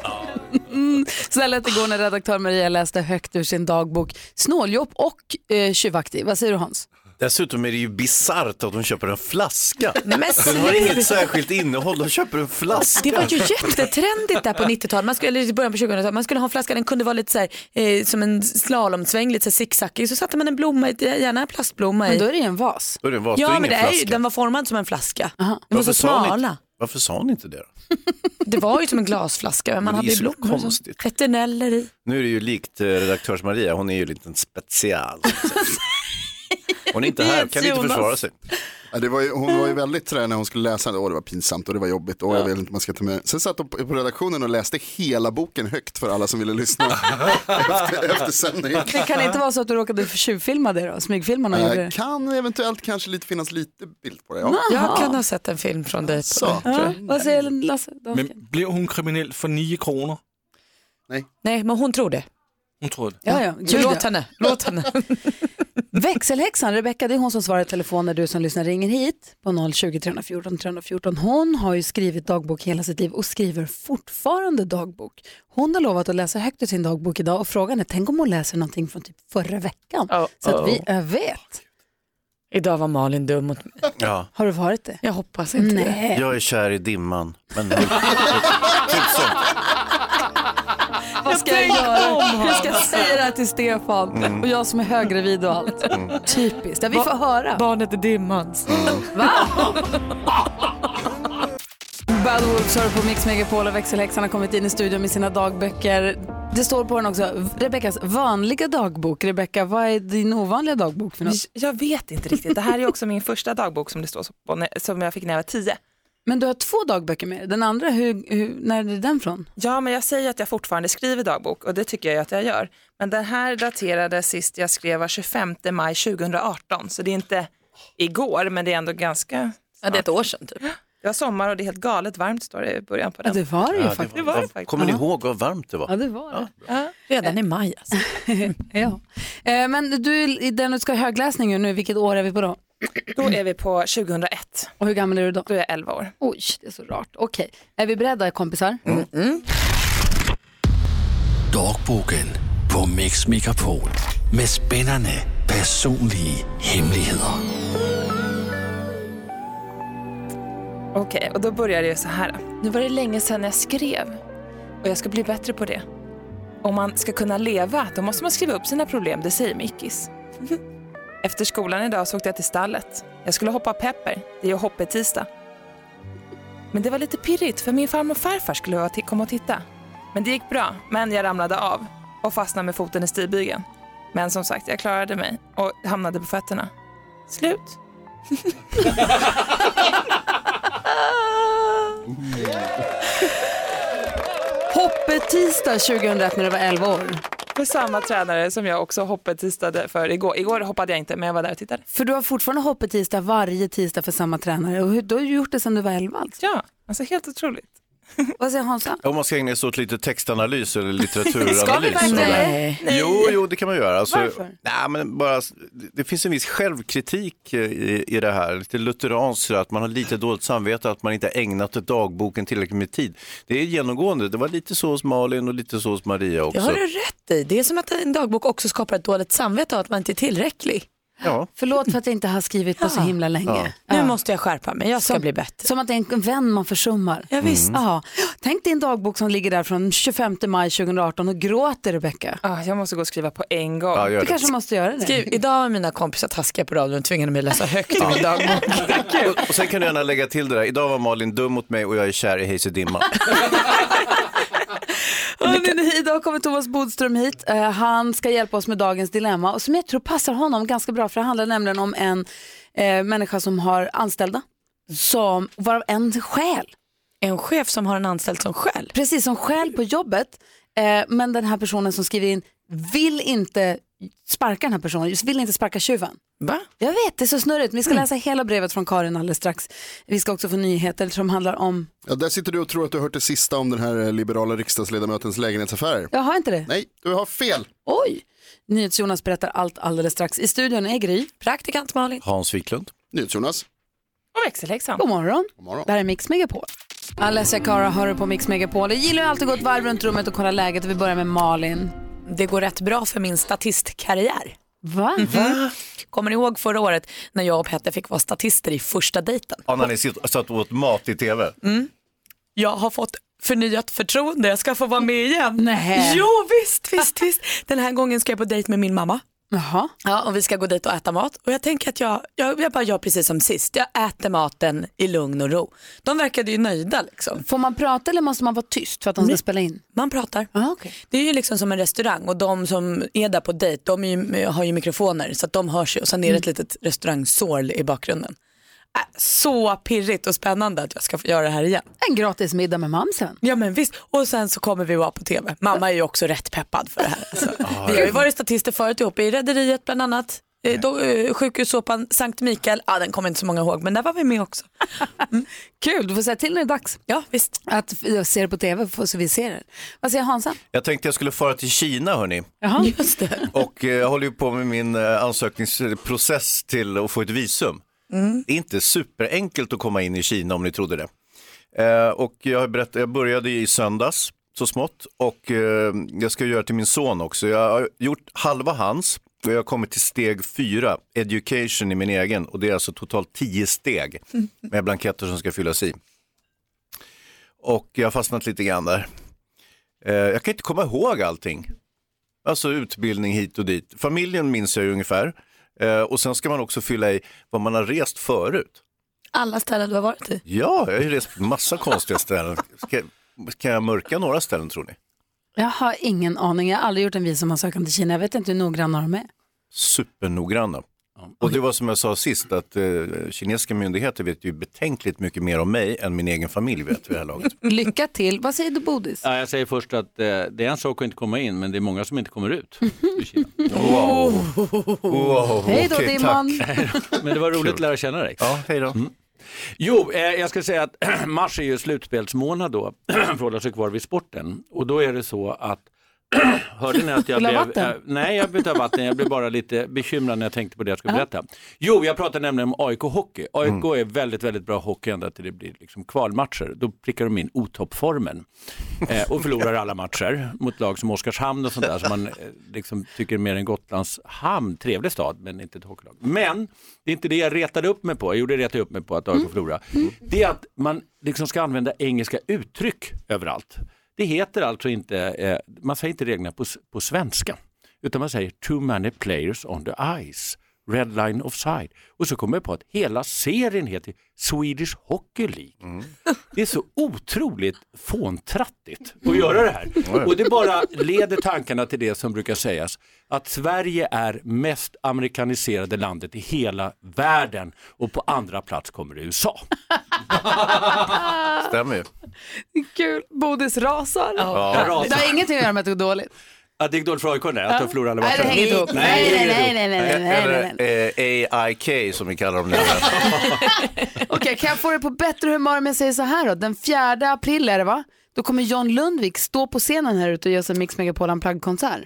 A: Mm, så här lät det igår när redaktör Maria läste högt ur sin dagbok. Snåljåp och eh, tjuvaktig, vad säger du Hans?
B: Dessutom är det ju bisarrt att de köper en flaska.
C: Nej, men
B: den har
C: sluta.
B: inget särskilt innehåll, de köper en flaska.
C: Det var ju jättetrendigt där på 90-talet, man skulle, eller i början på 2000-talet. Man skulle ha en flaska, den kunde vara lite så här, eh, som en slalomsväng, lite så här zigzackig. Så satte man en blomma, i- gärna en plastblomma i.
A: Men då är det ju en vas.
B: Då är det en vas, då är
C: Ja
B: det
C: men
B: ingen
C: det är ju,
B: flaska.
C: den var formad som en flaska. Den var
B: Varför
C: så
B: sa ni inte-
C: smala.
B: Varför sa ni inte det då?
C: Det var ju som en glasflaska men man
B: Men det
C: hade
B: är
C: ju
B: så
C: blommor och så.
B: konstigt.
C: Petineller i.
B: Nu är det ju likt eh, redaktörs Maria, hon är ju en liten special. Hon är inte här, kan inte försvara sig.
G: Ja, det var ju, hon var ju väldigt sådär när hon skulle läsa, åh det var pinsamt och det var jobbigt och jag vet inte om man ska ta med Sen satt hon på på redaktionen och läste hela boken högt för alla som ville lyssna efter, efter sändningen.
A: Det kan inte vara så att du råkade tjuvfilma det då, smygfilma någon
G: Eh,
A: gjorde det?
G: Kan eventuellt kanske lite, finnas lite bild på det.
A: Jaha.
G: Ja.
C: Jag kan ha sett en film från dig.
G: Så.
C: På,
A: Ja, vad säger Lasse?
H: Men blev hon kriminell för 9 kronor?
C: Nej men hon tror det.
H: Hon tror det.
A: Ja, ja,
C: Så
A: gud,
C: låt
A: ja.
C: henne. Låt henne.
A: Växelhäxan, Rebecka, det är hon som svarar i telefon när du som lyssnar ringer hit på 020 314 314. Hon har ju skrivit dagbok hela sitt liv och skriver fortfarande dagbok. Hon har lovat att läsa högt ur sin dagbok idag och frågan är, tänk om hon läser någonting från typ förra veckan? Så att vi jag vet.
C: Idag var Malin dum mot mig.
B: Ja.
A: Har du varit det?
C: Jag hoppas inte
A: Nej.
B: Jag är kär i dimman. Men
A: Vad ska jag
D: tänkte om
A: göra?
D: honom.
A: Jag ska säga det här till Stefan
B: Mm.
A: och jag som är höggravid och allt.
C: Mm.
A: Typiskt. Ja, vi får höra.
C: Barnet är dimmans.
A: Va? Bad Wolves hör på Mix Megapol och växelhäxan har kommit in i studion med sina dagböcker. Det står på den också, Rebeckas vanliga dagbok. Rebecka, vad är din ovanliga dagbok för något?
E: Jag vet inte riktigt. Det här är också min första dagbok som det står så på, när- som jag fick när jag var tio.
A: Men du har två dagböcker med dig. Den andra, hur, hur, när är den från?
E: Ja, men jag säger att jag fortfarande skriver dagbok och det tycker jag ju att jag gör. Men den här daterade sist jag skrev var 25 maj 2018, så det är inte igår, men det är ändå ganska...
C: Ja, det är ett år sedan typ.
E: Det var sommar och det är helt galet varmt står det i början på
A: Ja,
E: den.
A: det var det ju faktiskt.
E: Det var det faktiskt.
B: Kommer ni ihåg vad varmt det var?
A: Ja, det var det.
C: Redan i maj alltså.
A: ja. Eh, Men du, i den du ska ha högläsning ur nu, vilket år är vi på då?
E: Då är vi på 2001.
A: Och hur gammal är du då?
E: Då är jag 11 år.
A: Oj, det är så rart. Okej, är vi beredda kompisar?
O: Dogbogen på Mix Megapol med spännande personliga hemligheter.
E: Okej, och då börjar det ju så här. Nu var det länge sedan jag skrev och jag ska bli bättre på det. Om man ska kunna leva, då måste man skriva upp sina problem, det säger Mickis. Efter skolan idag så åkte jag till stallet. Jag skulle hoppa pepper, det är ju hoppetisdag. Men det var lite pirrigt för min farmor och farfar skulle vara till- komma och titta. Men det gick bra, men jag ramlade av och fastnade med foten i stigbygeln. Men som sagt, jag klarade mig och hamnade på fötterna. Slut.
A: Hoppetisdag 2001 när du var 11 år.
E: Med samma tränare som jag också hoppetistade för igår. Igår hoppade jag inte, men jag var där och tittade.
A: För du har fortfarande hoppet tisdag varje tisdag för samma tränare och hur- du har ju gjort det sedan du var 11 alltså.
E: Ja, alltså helt otroligt.
A: Vad säger Hansa?
B: Om man ska ägna sig åt lite textanalys eller litteraturanalys.
A: Ska vi verkligen?
B: så-
A: Nej.
B: Jo, jo, det kan man göra. Alltså,
A: Varför?
B: Nej, men bara, det finns en viss självkritik i, i det här, lite lutheransk, så att man har lite dåligt samvete att man inte har ägnat dagboken tillräckligt med tid. Det är genomgående, det var lite så hos Malin och lite så hos Maria
C: Det
B: också.
C: har du rätt i. Det är som att en dagbok också skapar ett dåligt samvete och att man inte är tillräcklig.
B: Ja.
A: Förlåt för att jag inte har skrivit på så himla länge.
C: Ja. Nu måste jag skärpa mig, jag ska bli bättre.
A: Som att det är en vän man försummar.
C: Ja, visst. Mm.
A: Ja. Tänk din dagbok som ligger där från 25 maj 2018 och gråter Rebecka.
E: Ah, jag måste gå och skriva på en gång.
A: Ja, gör Du det. kanske måste göra det.
C: Skriv, idag var mina kompisar taskiga på radion och tvingade mig att läsa högt i min dagbok.
B: Och, och sen kan du gärna lägga till det där, idag var Malin dum mot mig och jag är kär i Hayes Dimma.
A: Hörrni, idag kommer Thomas Bodström hit. Eh, Han ska hjälpa oss med dagens dilemma och som jag tror passar honom ganska bra för det handlar nämligen om en eh, människa som har anställda som varav en stjäl.
C: En chef som har en anställd som stjäl?
A: Precis, som stjäl på jobbet. Eh, men den här personen som skriver in vill inte sparka den här personen, just vill inte sparka tjuven.
C: Va?
A: Jag vet, det är så snurrigt. Vi ska
C: Mm.
A: läsa hela brevet från Karin alldeles strax. Vi ska också få nyheter som handlar om,
G: Ja, där sitter du och tror att du har hört det sista om den här eh, liberala riksdagsledamötens lägenhetsaffärer.
A: jag har inte det?
G: Nej, du har fel.
A: Oj! NyhetsJonas berättar allt alldeles strax. I studion är Gry.
C: Praktikant Malin.
B: Hans Wiklund.
G: NyhetsJonas.
E: Och växelhäxan.
A: God morgon. Det här är Mix Megapol. Alessia Cara hör du på Mix Megapol. Jag gillar ju alltid att gå ett varv runt rummet och kolla läget. Vi börjar med Malin.
C: Det går rätt bra för min statistkarriär. Mhm.
A: Va?
C: Kommer ni ihåg förra året när jag och Petter fick vara statister i första dejten? Mm.
B: Ja, när ni sitt- satt och åt mat i tv.
C: Jag har fått förnyat förtroende, jag ska få vara med igen.
A: Nej.
C: Jo visst, visst, visst. Den här gången ska jag på dejt med min mamma.
A: Jaha.
C: Ja, och vi ska gå dit och äta mat. Och jag tänker att jag, jag, jag bara gör precis som sist, jag äter maten i lugn och ro. De verkade ju nöjda liksom.
A: Får man prata eller måste man vara tyst för att de ska spela in?
C: Man pratar.
A: Ah, okay.
C: Det är ju liksom som en restaurang och de som är där på dejt de är ju, har ju mikrofoner så att de hörs ju och sen är det
A: Mm.
C: ett litet restaurangsorl i bakgrunden. Äh, Så pirrigt och spännande att jag ska få göra det här igen.
A: En gratis middag med mamsen.
C: Ja men visst, och sen så kommer vi vara på tv. Mamma är ju också rätt peppad för det här. Alltså. Vi har ju varit statister förut ihop i Rederiet bland annat, eh, då, eh, sjukhussåpan Sankt Mikael, ah, den kommer inte så många ihåg men där var vi med också. Mm.
A: Kul, du får säga till när det är dags.
C: Ja, visst.
A: Att jag ser det på tv får- så vi ser det. Vad säger Hansa?
B: Jag tänkte jag skulle fara till Kina hörni.
A: Jaha.
C: Just det.
B: Och eh, jag håller ju på med min eh, ansökningsprocess till att få ett visum. Det är inte superenkelt att komma in i Kina om ni trodde det. Eh, och jag, har berättat, jag började i söndags så smått och eh, jag ska göra till min son också. Jag har gjort halva hans och jag har kommit till steg fyra, education i min egen och det är alltså totalt tio steg med blanketter som ska fyllas i. Och jag har fastnat lite grann där. Eh, jag kan inte komma ihåg allting. Alltså utbildning hit och dit. Familjen minns jag ju ungefär. Eh, och sen ska man också fylla i vad man har rest förut.
C: Alla ställen du har varit i.
B: Ja, jag har ju rest på massa konstiga ställen. Ska, kan jag mörka några ställen tror ni?
A: Jag har ingen aning. Jag har aldrig gjort en visumansökan till Kina. Jag vet inte hur noggranna de är.
B: Supernoggranna. Och det var som jag sa sist att eh, kinesiska myndigheter vet ju betänkligt mycket mer om mig än min egen familj vet vid det här laget.
A: Lycka till. Vad säger du Bodis?
Q: Ja, jag säger först att eh, det är en sak att inte komma in, men det är många som inte kommer ut.
B: Wow,
A: Hej då, okej, Dimman.
Q: men det var roligt att lära känna dig. Mm.
B: Ja, hej då.
Q: Jo, eh, jag ska säga att mars är ju slutspelsmånad då, för att hålla sig kvar vid sporten. Och då är det så att Hörde ni att jag
O: Vill du
Q: blev...
O: ha vatten?
Q: eh, nej, jag vill inte ha vatten. Jag blev bara lite bekymrad när jag tänkte på det jag skulle
O: Ja.
Q: berätta. Jo, jag pratade nämligen om AIK Hockey. AIK är väldigt, väldigt bra hockey ända till det blir liksom kvalmatcher. Då prickar de in otoppformen eh, och förlorar alla matcher mot lag som Oskarshamn och sånt där som man eh, liksom tycker är mer än Gotlandshamn. Trevlig stad, men inte ett hockeylag. Men det är inte det jag retade upp mig på. Jag gjorde reta upp mig på att AIK förlorade. Det är att man liksom ska använda engelska uttryck överallt. Det heter alltså inte, eh, man säger inte reglerna på, s- på svenska, utan man säger too many players on the ice, red line offside. Och så kommer jag på att hela serien heter Swedish Hockey League.
O: Mm.
Q: Det är så otroligt fåntrattigt att göra det här.
O: Mm. ja.
Q: Och det bara leder tankarna till det som brukar sägas, att Sverige är mest amerikaniserade landet i hela världen och på andra plats kommer USA.
B: Stämmer ju.
A: Kul. Bodis rasar.
Q: Ja. Jag rasar.
A: Det har ingenting att göra med att det går dåligt.
Q: Att det gick dåligt för AIK? Nej, att de förlorade alla
A: Nej,
Q: matcher.
A: det hänger inte ihop. Nej, nej, nej, nej, nej, nej, nej, nej, nej.
B: Eller eh, AIK som vi kallar dem nu.
A: Okej, kan jag få dig på bättre humör om jag säger så här då? Den 4 april är det va? Då kommer John Lundvik stå på scenen här ute och göra sin Mix Megapol plagg-konsert.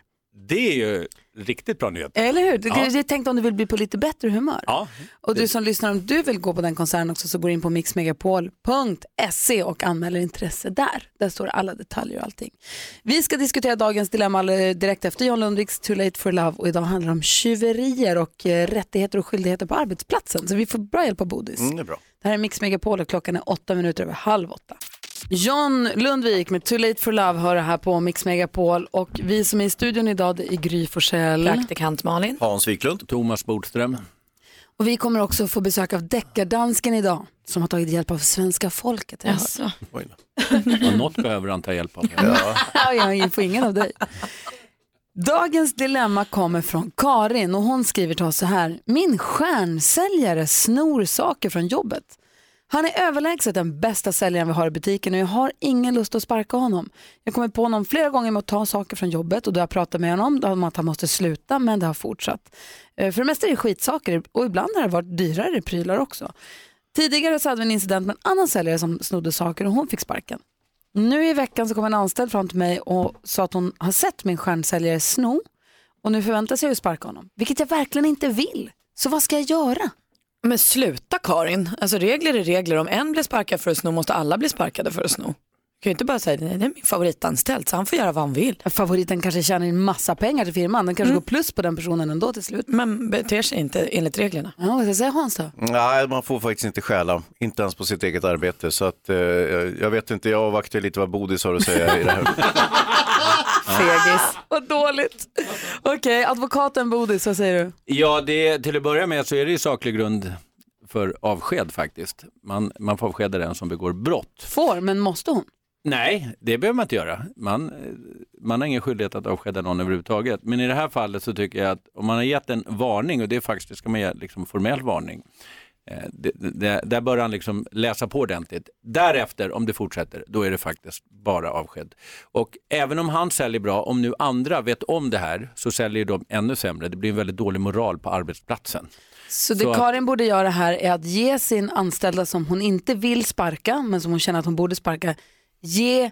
Q: Det är ju riktigt bra nyhet.
A: Eller hur? Du,
Q: Ja.
A: Jag tänkte om du vill bli på lite bättre humör.
Q: Ja.
A: Och du som lyssnar, om du vill gå på den konserten också så går in på mixmegapol.se och anmäler intresse där. Där står alla detaljer och allting. Vi ska diskutera dagens dilemma eh, direkt efter John Lundviks Too Late for Love och idag handlar det om tjuverier och eh, rättigheter och skyldigheter på arbetsplatsen. Så vi får bra hjälp av Bodis.
B: Mm, det är bra.
A: Det här är Mix Megapol och klockan är åtta minuter över halv åtta. John Lundvik med Too Late for Love hör det här på Mix Megapol och vi som är i studion idag det är Gry Forssell.
C: Praktikant Malin.
Q: Hans Wiklund. Thomas Bodström.
A: Och vi kommer också få besök av deckardansken idag som har tagit hjälp av svenska folket. Alltså.
Q: Oj då. Ja, något behöver han ta hjälp av.
A: Jag får ingen av dig. Dagens dilemma kommer från Karin och hon skriver till oss så här. Min stjärnsäljare snor saker från jobbet. Han är överlägset den bästa säljaren vi har i butiken och jag har ingen lust att sparka honom. Jag kommer på honom flera gånger med att ta saker från jobbet och då har jag pratat med honom om att han måste sluta men det har fortsatt. Eh, För det mesta är det skitsaker och ibland har det varit dyrare prylar också. Tidigare så hade vi en incident med en annan säljare som snodde saker och hon fick sparken. Nu i veckan så kom en anställd fram till mig och sa att hon har sett min stjärnsäljare sno och nu förväntar sig att sparka honom, vilket jag verkligen inte vill. Så vad ska jag göra?
C: Men sluta Karin, alltså regler är regler. Om en blir sparkad för att sno måste alla bli sparkade för att sno. Du kan ju inte bara säga nej det är min favoritanställd så han får göra vad han vill.
A: Favoriten kanske tjänar en massa pengar till firman, den kanske går plus på den personen ändå till slut.
C: Mm. Men beter sig inte enligt reglerna.
A: Ja, vad ska jag säga Hans då?
B: Nej, man får faktiskt inte stjäla, inte ens på sitt eget arbete. Så att, eh, jag vet inte, jag avvaktar lite vad Bodis har att säga i det här.
C: Ah,
A: Fegis. vad dåligt. Okej, advokaten Bodis, vad säger du?
Q: Ja, det, till att börja med så är det ju saklig grund för avsked faktiskt. Man, man får avskeda den som begår brott.
A: Får, men måste hon?
Q: Nej, det behöver man inte göra. Man, eh, man har ingen skyldighet att avskeda någon överhuvudtaget. Men i det här fallet så tycker jag att om man har gett en varning, och det är faktiskt, det ska man ge liksom formell varning, eh, det, det, där bör han liksom läsa på ordentligt. Därefter, om det fortsätter, då är det faktiskt bara avsked. Och även om han säljer bra, om nu andra vet om det här, så säljer de ännu sämre. Det blir en väldigt dålig moral på arbetsplatsen.
A: Så det
Q: Så att-
A: Karin borde göra här är att ge sin anställda som hon inte vill sparka, men som hon känner att hon borde sparka, ge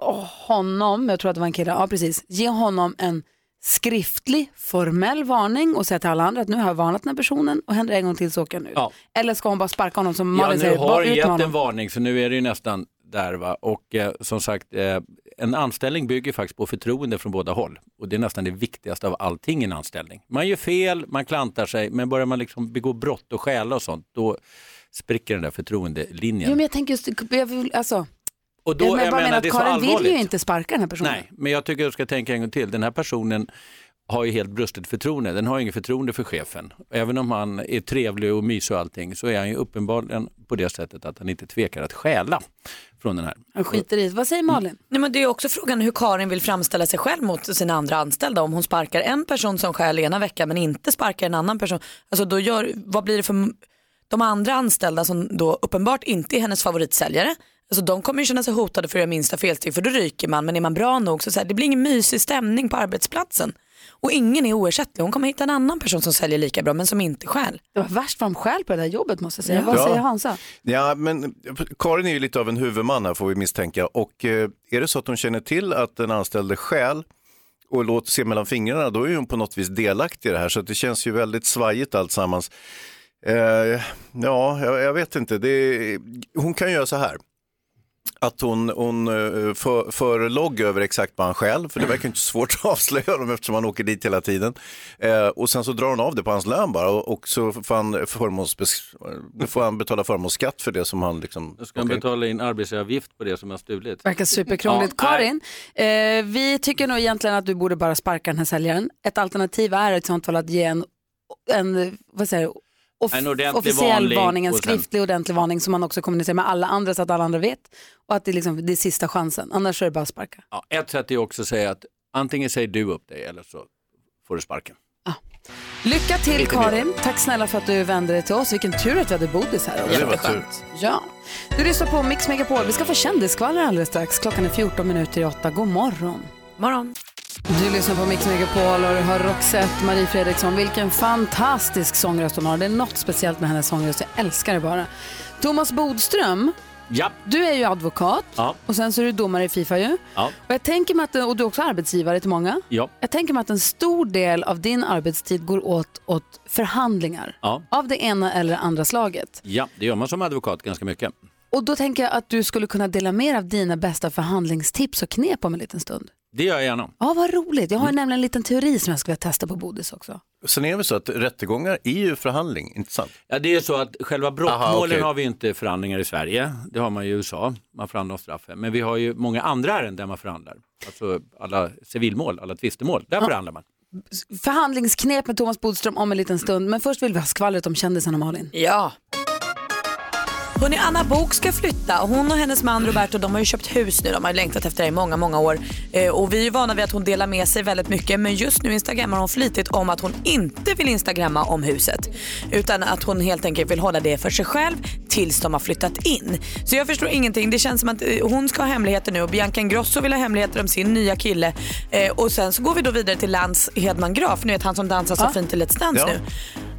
A: honom, jag tror att det var en kille, ja precis, ge honom en skriftlig formell varning och säga till alla andra att nu har jag varnat den här personen och händer det en gång till så åker jag nu.
Q: Ja.
A: Eller ska hon bara sparka honom som
Q: Ja,
A: Malin
Q: nu
A: säger,
Q: har
A: bara
Q: det
A: ut med
Q: gett en
A: honom.
Q: varning så nu är det ju nästan där va. Och eh, som sagt, eh, en anställning bygger faktiskt på förtroende från båda håll. Och det är nästan det viktigaste av allting i en anställning. Man gör fel, man klantar sig, men börjar man liksom begå brott och stjäla och sånt, då spricker den där
A: Jo,
Q: förtroendelinjen.
A: men jag tänker just, jag vill, alltså,
Q: Och då,
A: jag bara
Q: jag
A: menar
Q: menar,
A: att
Q: det är så
A: Karin vill ju
Q: allvarligt.
A: inte sparka den här personen.
Q: Nej, men jag tycker du ska tänka en gång till. Den här personen har ju helt brustet förtroende. Den har ju inget förtroende för chefen. Även om han är trevlig och mysig och allting så är han ju uppenbarligen på det sättet att han inte tvekar att stjäla från den här.
A: Han skiter i det. Vad säger Malin?
C: Mm. Nej, men det är också frågan hur Karin vill framställa sig själv mot sina andra anställda. Om hon sparkar en person som skäl ena veckan men inte sparkar en annan person. Alltså då gör, vad blir det för m- de andra anställda som då uppenbart inte är hennes favoritsäljare. Alltså de kommer ju känna sig hotade för att göra minsta felsteg för då ryker man. Men är man bra nog så, så här, det blir ingen mysig stämning på arbetsplatsen. Och ingen är oersättlig. Hon kommer hitta en annan person som säljer lika bra men som inte skäl.
A: Det var värst vad de skäl på det där jobbet måste jag säga.
B: Ja.
A: Vad
B: Ja.
A: säger Hansa?
B: Ja, men Karin är ju lite av en huvudman här får vi misstänka. Och eh, är det så att hon känner till att den anställde stjäl och låter se mellan fingrarna, då är hon på något vis delaktig i det här. Så att det känns ju väldigt svajigt alltsammans. Eh, ja, jag, jag vet inte. Det är, hon kan göra så här. Att hon, hon eh, för, för logg över exakt vad han själv, för det verkar inte så svårt att avslöja honom eftersom han åker dit hela tiden. Eh, och sen så drar hon av det på hans lön bara och, och så får han, förmånsbes- då får han betala förmånsskatt för det som han liksom...
Q: Ska man betala in arbetsgivaravgift på det som har stulit?
A: Verkar superkrångligt.
Q: Ja, nej.
A: Karin, eh, vi tycker nog egentligen att du borde bara sparka den här säljaren. Ett alternativ är ett sånt fall att ge en, en vad säger du, off-
Q: En ordentlig
A: officiell
Q: varning
A: varning, en
Q: och sen-
A: skriftlig ordentlig varning som man också kommunicerar med alla andra så att alla andra vet. Och att det, är liksom, det är sista chansen, annars är det bara att sparka.
Q: Ja, ett sätt är också att säga att antingen säger du upp dig eller så får du sparken.
A: Lycka till
Q: Lite
A: Karin, tack snälla för att du vände dig till oss. Vilken tur att vi hade Bodis här. också. Ja. Du lyssnar på Mix Megapol, vi ska få kändisskvaller alldeles strax. Klockan är 14 minuter i åtta. god morgon.
C: Morgon.
A: Du lyssnar på Mix Megapol och du hör Roxette, Marie Fredriksson. Vilken fantastisk sångröst hon har. Det är något speciellt med hennes sångröst. Jag älskar det bara. Thomas Bodström,
Q: Ja.
A: du är ju advokat
Q: Ja.
A: och sen så är du domare i Fifa ju.
Q: Ja.
A: Och, jag tänker mig att, och du är också arbetsgivare till många.
Q: Ja.
A: Jag tänker mig att en stor del av din arbetstid går åt, åt förhandlingar
Q: Ja.
A: av det ena eller andra slaget.
Q: ja, det gör man som advokat ganska mycket.
A: Och då tänker jag att du skulle kunna dela med dig av dina bästa förhandlingstips och knep om en liten stund.
Q: Det gör jag gärna.
A: Ja, vad roligt. Jag har nämligen en liten teori som jag skulle vilja testa på Bodis också.
B: Sen är det väl så att rättegångar är ju förhandling, inte sant?
Q: Ja, det är så att själva brottmålen
B: Aha, okej.
Q: har vi ju inte förhandlingar i Sverige. Det har man ju i USA. Man förhandlar om straffen. Men vi har ju många andra ärenden där man förhandlar. Alltså alla civilmål, alla tvistemål. Där förhandlar man.
A: Förhandlingsknep med Thomas Bodström om en liten stund. Men först vill vi ha skvallret om kändisarna Malin.
C: Ja. Hon är Anna Bok ska flytta. Hon och hennes man Roberto de har ju köpt hus nu. De har ju längtat efter det i många, många år. Eh, och vi är ju vana vid att hon delar med sig väldigt mycket. Men just nu instagrammar hon flitigt om att hon inte vill instagramma om huset. Utan att hon helt enkelt vill hålla det för sig själv tills de har flyttat in. Så jag förstår ingenting. Det känns som att eh, hon ska ha hemligheter nu och Bianca Ingrosso vill ha hemligheter om sin nya kille. Eh, och sen så går vi då vidare till Lance Hedman Graf. Ni vet han som dansar så
A: Ja.
C: fint i Let's Dance
A: Ja.
C: nu.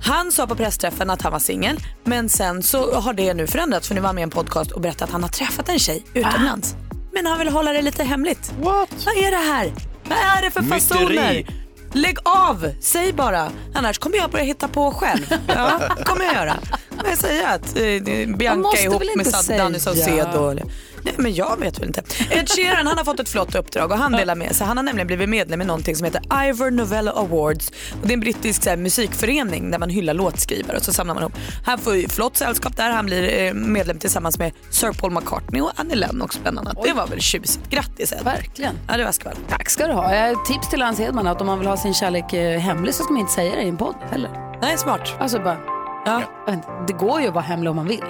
C: Han sa på pressträffen att han var singel, men sen så har det nu förändrats för nu var han med i en podcast och berättade att han har träffat en tjej utomlands.
A: Ah.
C: Men han vill hålla det lite hemligt. What? Vad är det här? Vad är det för
D: Myteri.
C: fasoner? Lägg av, säg bara. Annars kommer jag börja hitta på själv. Ja, kommer jag göra. Men jag säger att eh, Bianca
A: måste
C: är ihop
A: väl
C: med
A: inte
C: Sad- Danny
A: säga.
C: Saucedo. eller- Nej, men jag vet väl inte. Ed Sheeran han har fått ett flott uppdrag och han delar med sig. Han har nämligen blivit medlem i någonting som heter Ivor Novello Awards. Och det är en brittisk så här, musikförening där man hyllar låtskrivare och så samlar man ihop. Han får ju flott sällskap där. Han blir eh, medlem tillsammans med Sir Paul McCartney och Annie Lennox bland annat. Det var väl tjusigt. Grattis Ed.
A: Verkligen.
C: Ja, det var skvall.
A: Tack ska du ha. Jag har ett tips till Lance Hedman att om man vill ha sin kärlek eh, hemlig så ska man inte säga det i en podd heller.
C: Nej, smart.
A: Alltså bara,
C: ja.
A: jag vet inte, det går ju att vara hemlig om man vill.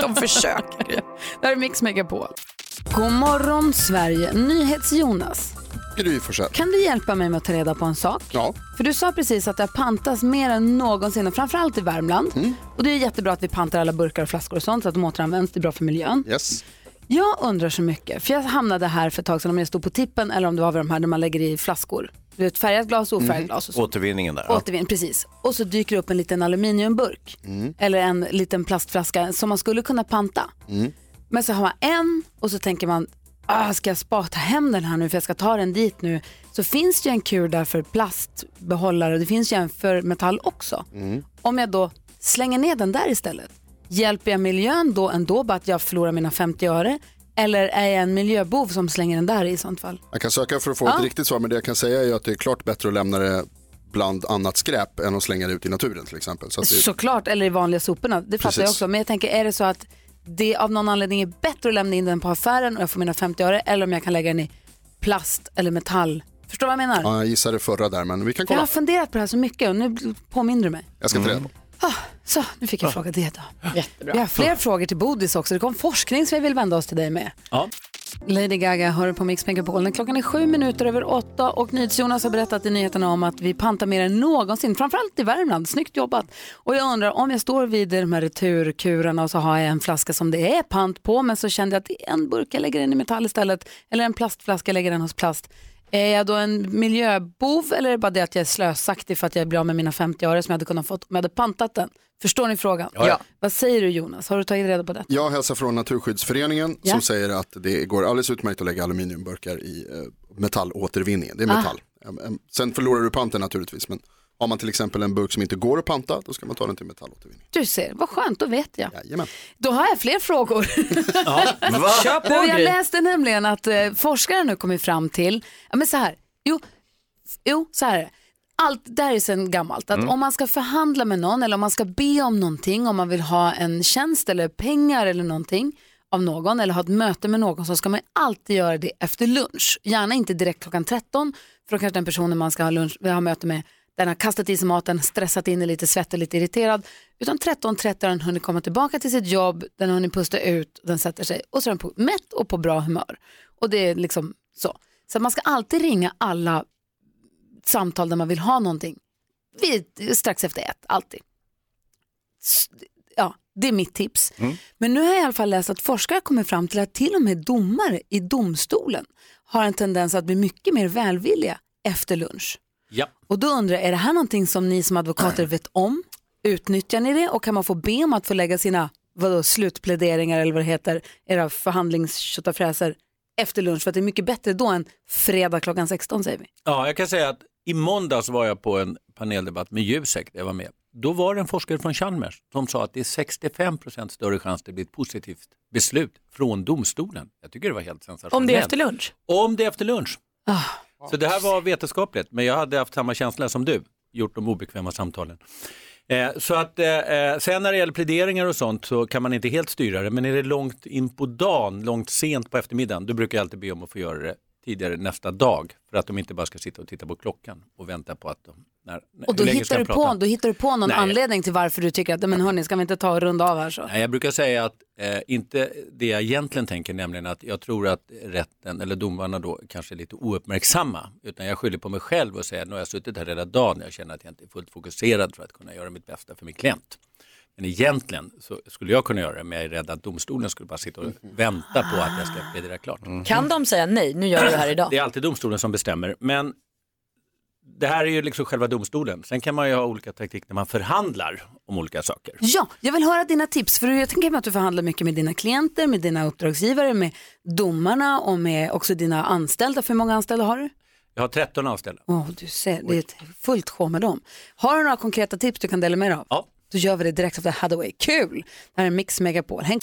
C: De försöker ju.
A: Det här är Mix Megapol. God morgon Sverige, NyhetsJonas.
G: Gry Forssell.
A: Kan du hjälpa mig med att ta reda på en sak?
G: Ja.
A: För du sa precis att det har pantats mer än någonsin och framförallt i Värmland. Och det är jättebra att vi pantar alla burkar och flaskor och sånt så att de återanvänds, det är bra för miljön.
G: Yes.
A: Jag undrar så mycket, för jag hamnade här för ett tag sedan om jag stod på tippen eller om det var vid de här där man lägger i flaskor. Det är ett färgat glas och ofärgat
B: Mm.
A: glas och så.
B: Återvinningen där. ja.
A: Återvinn, precis. Och så dyker det upp en liten aluminiumburk
B: Mm.
A: eller en liten plastflaska som man skulle kunna panta.
G: Mm.
A: Men så har man en och så tänker man, ah, ska jag spa, ta hem den här nu för jag ska ta den dit nu. Så finns det ju en kur där för plastbehållare och det finns ju en för metall också.
D: Mm.
A: Om jag då slänger ner den där istället, hjälper jag miljön då ändå bara att jag förlorar mina 50 öre? Eller är jag en miljöbov som slänger den där i sånt fall?
G: Jag kan söka för att få
A: Ja.
G: ett riktigt svar, men det jag kan säga är ju att det är klart bättre att lämna det bland annat skräp än att slänga det ut i naturen till exempel. Så att Alltså, det,
A: Såklart, eller i vanliga soporna. Det fattar jag
G: Precis.
A: också. Men jag tänker, är det så att det av någon anledning är bättre att lämna in den på affären och jag får mina 50 öre eller om jag kan lägga den i plast eller metall? Förstår du vad jag menar?
G: ja, jag gissade förra där, men vi kan
A: jag
G: kolla.
A: har funderat på det här så mycket och nu påminner du mig.
G: Jag ska ta reda på.
A: Så, nu fick jag
G: Ja.
A: fråga det då. Jättebra. Jag har fler frågor till Bodis också. Det kom forskning som jag vill vända oss till dig med.
Q: Ja.
A: Lady Gaga hör på Mix Megapol. Den Klockan är sju minuter över åtta och NyhetsJonas har berättat i nyheterna om att vi pantar mer än någonsin, framförallt i Värmland. Snyggt jobbat. Och jag undrar om jag står vid de här returkurarna och så har jag en flaska som det är pant på men så kände jag att det är en burk jag lägger den i metall istället eller en plastflaska jag lägger den hos plast. Är jag då en miljöbov eller är det bara det att jag är slösaktig för att jag blir av med mina 50 öre som jag hade kunnat fått om jag hade pantat den? Förstår ni frågan?
G: Ja, ja.
A: Vad säger du Jonas? Har du tagit reda på det?
G: Jag hälsar från Naturskyddsföreningen
A: Ja.
G: som säger att det går alldeles utmärkt att lägga aluminiumburkar i eh, metallåtervinningen. Det är
A: Ah.
G: metall. Em, em, Sen förlorar du panten naturligtvis, men har man till exempel en burk som inte går att panta, då ska man ta den till metallåtervinning.
A: Du ser, vad skönt, då vet jag.
G: Jajamän.
A: Då har jag fler frågor.
G: Va? Kör på,
A: Nej, men Jag
G: Gry.
A: läste nämligen att eh, forskare nu kommit fram till, ja, men så här, jo, jo så här är det. Allt det här är sedan gammalt, att
D: Mm.
A: om man ska förhandla med någon eller om man ska be om någonting, om man vill ha en tjänst eller pengar eller någonting av någon eller ha ett möte med någon så ska man alltid göra det efter lunch. Gärna inte direkt klockan 13 för då kanske den personen man ska ha, lunch, ha möte med den har kastat i sig maten, stressat in, är lite svettig, lite irriterad. Utan 13.30 har den hunnit komma tillbaka till sitt jobb, den har hunnit pusta ut, den sätter sig och så är den på, mätt och på bra humör. Och det är liksom så. Så att man ska alltid ringa alla samtal där man vill ha någonting. Vid, strax efter ett, alltid. S- Ja, Det är mitt tips. Men nu har jag i alla fall läst att forskare kommer fram till att till och med domare i domstolen har en tendens att bli mycket mer välvilliga efter lunch.
Q: Ja.
A: Och då undrar jag, är det här någonting som ni som advokater vet om? Utnyttjar ni det och kan man få be om att få lägga sina vadå, slutpläderingar eller vad det heter, era förhandlingstjottafräser efter lunch för att det är mycket bättre då än fredag klockan 16 säger vi.
Q: Ja, jag kan säga att i måndags var jag på en paneldebatt med Jusek, där jag var med. Då var det en forskare från Chalmers som sa att det är 65 procent större chans det blir ett positivt beslut från domstolen. Jag tycker det var helt sensationellt.
C: Om det är efter lunch?
Q: Om det är efter lunch. Så det här var vetenskapligt, men jag hade haft samma känsla som du, gjort de obekväma samtalen. Eh, så att, eh, eh, sen när det gäller pläderingar och sånt så kan man inte helt styra det, men är det långt in på dagen, långt sent på eftermiddagen, då brukar jag alltid be om att få göra det tidigare nästa dag, för att de inte bara ska sitta och titta på klockan och vänta på att de... När, när,
A: Och då
Q: hur länge ska
A: hittar,
Q: de
A: du på,
Q: prata?
A: då hittar du på någon
Q: Nej.
A: anledning till varför du tycker att men hörni, ska vi inte ta och runda av här så?
Q: Nej, jag brukar säga att eh, inte det jag egentligen tänker, nämligen att jag tror att rätten eller domarna då kanske är lite ouppmärksamma, utan jag skyller på mig själv och säger att nu har jag suttit här hela dagen, jag känner att jag inte är fullt fokuserad för att kunna göra mitt bästa för min klient. Men egentligen så skulle jag kunna göra det, men jag är rädd att domstolen skulle bara sitta och vänta på att jag ska plädera klart.
C: Mm. Kan de säga nej, nu gör du det här idag?
Q: Det är alltid domstolen som bestämmer, men det här är ju liksom själva domstolen. Sen kan man ju ha olika taktik när man förhandlar om olika saker.
A: Ja, jag vill höra dina tips för jag tänker mig att du förhandlar mycket med dina klienter, med dina uppdragsgivare, med domarna och med också dina anställda. För hur många anställda har du?
Q: Jag har 13 anställda.
A: Åh, du ser, det är ett fullt sjå med dem. Har du några konkreta tips du kan dela med dig av? Ja. Då gör vi det direkt efter Hathaway. Kul! Det här är Mix Megapol. Häng...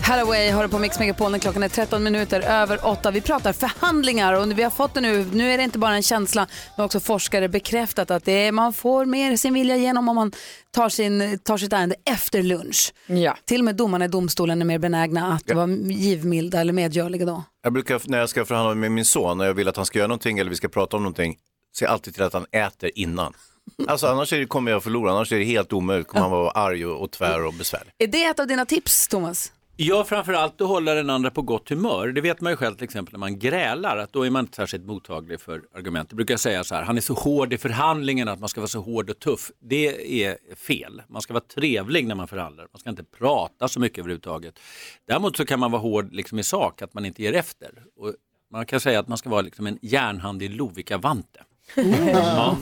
A: Hathaway har du på Mix Megapol när klockan är 13 minuter över 8. Vi pratar förhandlingar och vi har fått det nu. Nu är det inte bara en känsla, men också forskare bekräftat att det är, man får mer sin vilja igenom om man tar, sin, tar sitt ärende efter lunch.
C: Ja.
A: Till och med domarna i domstolen är mer benägna att vara givmilda eller medgörliga då.
B: Jag brukar, när jag ska förhandla med min son och jag vill att han ska göra någonting eller vi ska prata om någonting, ser jag alltid till att han äter innan. Alltså annars är det, kommer jag förlora, annars är det helt omöjligt, kommer han vara arg och, och tvär och besvärlig.
A: Är det ett av dina tips, Thomas?
Q: Ja, framförallt att hålla den andra på gott humör. Det vet man ju själv till exempel när man grälar, att då är man inte särskilt mottaglig för argument. Det brukar jag säga så här, han är så hård i förhandlingen att man ska vara så hård och tuff. Det är fel. Man ska vara trevlig när man förhandlar. Man ska inte prata så mycket överhuvudtaget. Däremot så kan man vara hård liksom i sak, att man inte ger efter. Och man kan säga att man ska vara liksom en järnhand i Lovikka-vante. Ja.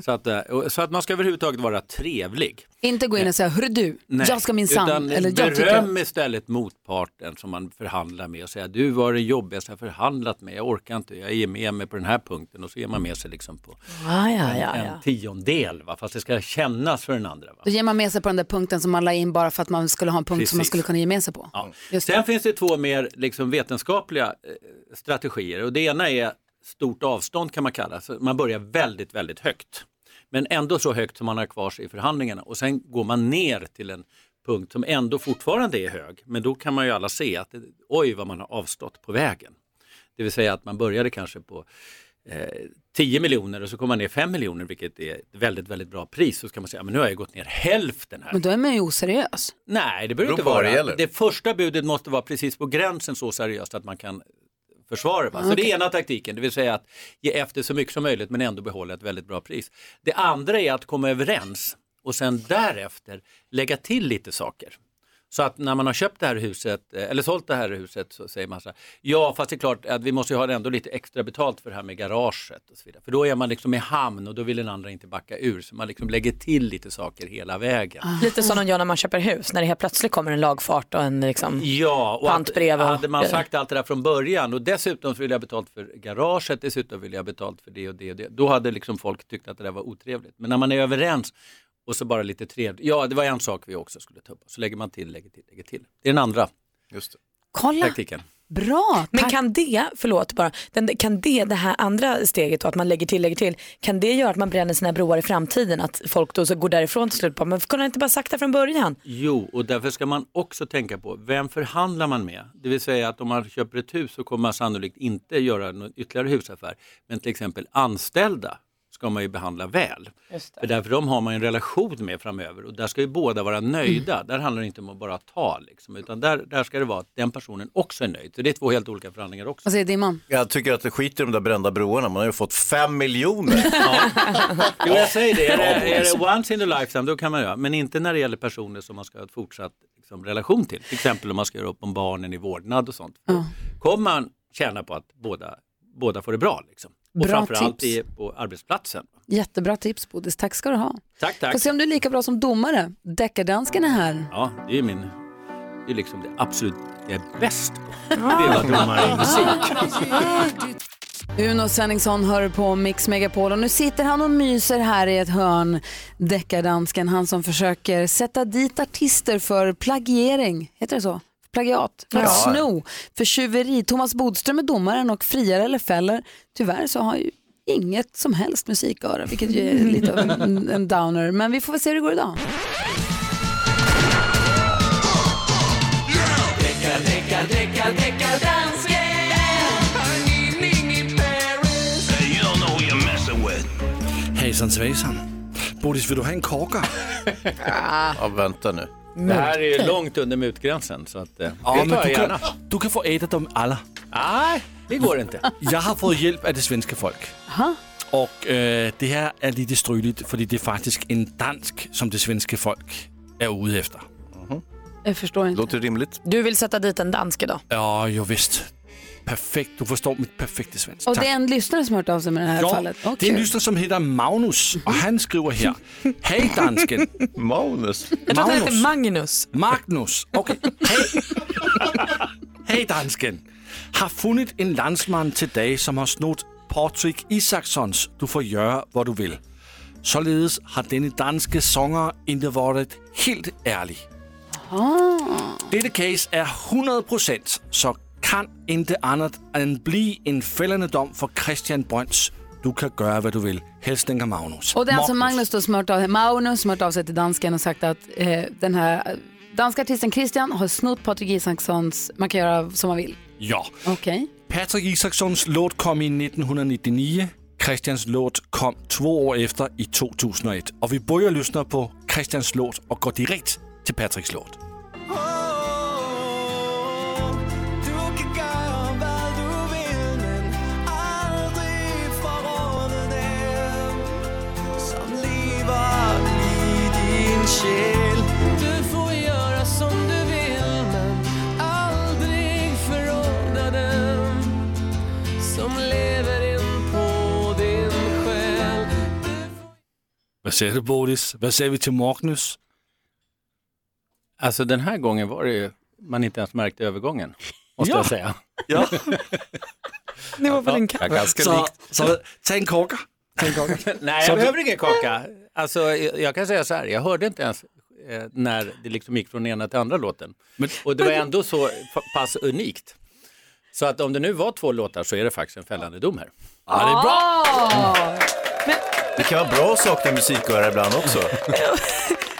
Q: Så, att, eh, och- så att man ska överhuvudtaget vara trevlig.
A: Inte gå in och säga, hörru du,
Q: Nej,
A: jag ska minsann,
Q: utan
A: eller jag tycker...
Q: beröm istället motparten som man förhandlar med och säga du var det jobbigaste jag förhandlat med, jag orkar inte, jag ger med mig på den här punkten och så ger man med sig liksom på
C: Ah, ja, ja,
Q: en
C: ja.
Q: tiondel, va? fast det ska kännas för den andra. Va?
A: Då ger man med sig på den där punkten som man la in bara för att man skulle ha en punkt som man
Q: Precis.
A: skulle kunna ge med sig på.
Q: Ja. Sen finns det två mer liksom, vetenskapliga eh, strategier och det ena är stort avstånd kan man kalla det. Så Man börjar väldigt, väldigt högt. Men ändå så högt som man har kvar sig i förhandlingarna och sen går man ner till en punkt som ändå fortfarande är hög. Men då kan man ju alla se att eh, oj vad man har avstått på vägen. Det vill säga att man började kanske på eh, 10 miljoner och så kommer man ner 5 miljoner vilket är ett väldigt, väldigt bra pris. Så ska man säga, men nu har jag gått ner hälften här.
A: Men då är man ju oseriös.
Q: Nej, det behöver
A: Beror
Q: inte
A: på vad
Q: vara.
A: det gäller.
Q: Det, första budet måste vara precis på gränsen så seriöst att man kan försvara. Va? Så det är ena taktiken, det vill säga att ge efter så mycket som möjligt men ändå behålla ett väldigt bra pris. Det andra är att komma överens och sen därefter lägga till lite saker. Så att när man har köpt det här huset, eh, eller sålt det här huset, så säger man så här, ja fast det är klart att vi måste ju ha ändå lite extra betalt för det här med garaget och så vidare. För då är man liksom i hamn och då vill den andra inte backa ur, så man liksom lägger till lite saker hela vägen.
C: Lite som de gör när man köper hus, när det helt plötsligt kommer en lagfart och en liksom...
Q: Ja, och
C: Pantbrev och-
Q: att, hade man sagt allt det där från början och dessutom så vill jag betalt för garaget, dessutom vill jag betalt för det och det och det. Då hade liksom folk tyckt att det där var otrevligt. Men när man är överens och så bara lite trevligt, ja det var en sak vi också skulle ta upp, så lägger man till, lägger till, lägger till. Det är den andra Just
A: Kolla.
Q: taktiken.
A: Bra.
C: Men kan det, förlåt bara, den, kan det, det här andra steget då, att man lägger till, lägger till, kan det göra att man bränner sina broar i framtiden? Att folk då så går därifrån till slut, bara, men kunde jag inte bara sagt det från början?
Q: Jo, och därför ska man också tänka på vem förhandlar man med? Det vill säga att om man köper ett hus så kommer man sannolikt inte göra någon ytterligare husaffär. Men till exempel anställda ska man ju behandla väl.
E: Just
Q: För därför de har man ju en relation med framöver och där ska ju båda vara nöjda. Där handlar det inte om att bara ta liksom, utan där, där ska det vara att den personen också är nöjd. Så det är två helt olika förhandlingar också.
A: Vad säger din man?
B: Jag tycker att det skiter i de där brända broarna, man har ju fått fem miljoner.
Q: Jo, jag säger det. Är det,
B: Ja,
Q: är
B: boys.
Q: det once in a lifetime, då kan man göra. Men inte när det gäller personer som man ska ha ett fortsatt liksom, relation till. Till exempel om man ska göra upp om barnen i vårdnad och sånt.
A: Ja.
Q: Kommer man tjäna på att båda, båda får det bra? Liksom. Och
A: Bra
Q: framförallt
A: tips.
Q: i, på arbetsplatsen.
A: Jättebra tips Bodis, tack ska du ha.
Q: Tack,
A: Får
Q: tack.
A: se om du är lika bra som domare. Deckardansken är här.
Q: Ja, det är min... Det är liksom det absolut det är bäst på. Det
A: Ah.
Q: är vad domare i musik.
A: Uno Svenningsson hör på Mix Megapol och nu sitter han och myser här i ett hörn. Deckardansken, han som försöker sätta dit artister för plagiering, heter det så? Plagiat, för att
R: Ja.
A: sno, för tjuveri. Thomas Bodström är domaren och friar eller fäller. Tyvärr så har han ju inget som helst musiköra, vilket ju är lite av en, en downer. Men vi får väl se hur det går idag.
H: Hejsan svejsan. Bodis, vill du ha en kaka?
B: ja, vänta nu.
Q: Det här är ju långt under mutgränsen. Så att, eh,
H: Ja,
Q: det
H: men
Q: tar
H: du
Q: jag
H: kan,
Q: gärna.
H: du kan få äta dem alla.
Q: Nej, det går inte.
H: Jag har fått hjälp av det svenska folk.
A: Aha.
H: Och eh, det här är lite struligt, för det är faktiskt en dansk som det svenska folk är ute efter.
A: Jag förstår inte.
B: Låter rimligt.
C: Du vill sätta dit en dansk idag?
H: Ja, jo, visst. Perfekt, du förstår mitt perfekta svenska.
A: Och det är en lyssnare som har hört av sig med det här
H: Ja,
A: fallet. Åh,
H: det är en
A: kul.
H: lyssnare som heter Magnus och han skriver här. Hej dansken.
B: Magnus?
C: Jag tror att han heter Magnus.
H: Magnus, okej. Hej. Hej dansken. Har funnit en landsman till dig som har snott Patrik Isakssons Du får göra vad du vill. Således har denne danske sångare inte varit helt ärlig. Dette case är 100% så kan inte annat än bli en fällande dom för Christian Brøns. Du kan göra vad du vill. Hälsningar Magnus.
A: Och det är alltså
H: Ma-
A: Magnus då som har hört av, Magnus som har hört av sig till dansken och sagt att eh, den här danska artisten Christian har snott Patrik Isakssons Man kan göra som man vill.
H: Ja.
A: Okej.
H: Patrick Isakssons låt kom i 1999. Christians låt kom två år efter i 2001. Och vi börjar lyssna på Christians låt och går direkt till Patricks låt.
D: Du får göra som du vill men aldrig förråda den som lever in på din själ
H: Vad säger du Bodis? Vad säger vi till Magnus?
Q: Alltså den här gången var det ju, man inte ens märkte övergången. Måste
H: Ja.
Q: jag säga.
H: Ja.
C: Det var väl en
Q: Ja, ganska
H: så,
Q: likt.
H: Så, ta en kaka. Ta en kaka.
Q: Nej,
H: Så
Q: jag
H: du-
Q: behöver ingen kaka. Alltså, jag jag kan säga så här, jag hörde inte ens eh, när det liksom gick från ena till andra låten. och det var ändå så fa- pass unikt. Så att om det nu var två låtar så är det faktiskt en fällande dom här.
H: Ja, det är bra.
A: Ah!
B: Det kan vara bra att sakna musikörare ibland också.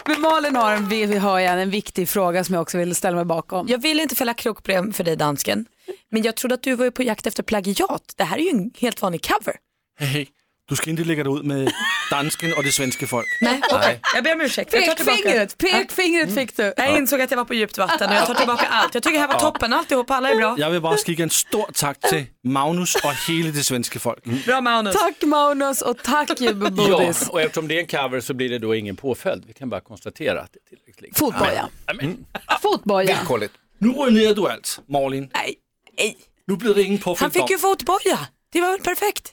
A: Men Malin har en, vi har igen en viktig fråga som jag också vill ställa mig bakom.
C: Jag vill inte fälla krokben för dig dansken, men jag trodde att du var ju på jakt efter plagiat. Det här är ju en helt vanlig cover.
H: Hej, hej. Du ska inte lägga dig ut med dansken och det svenska folk.
C: Nej, okej. Jag ber om ursäkt. Jag tar tillbaka.
A: Pekfingret, pekfingret fick du.
C: Jag insåg att jag var på djupt vatten och jag tar tillbaka allt. Jag tycker det här var
H: Ja.
C: toppen, alltihop, alla är bra.
H: Jag vill bara skicka en stor tack till Magnus och hela det svenska folk.
C: Mm. Bra Magnus.
A: Tack Magnus och tack Jubbe
Q: Ja,
A: Bodis.
Q: och eftersom det är en cover så blir det då ingen påföljd. Vi kan bara konstatera att det är tillräckligt. likt.
A: Fotboja.
Q: Men-
B: Mm.
Q: men-
A: Fotboja.
H: Nu ruinerar du allt, Malin.
C: Nej, nej.
H: Nu blir det ingen påföljd.
C: Han fick ju
H: om.
C: fotboja. Det var väl perfekt.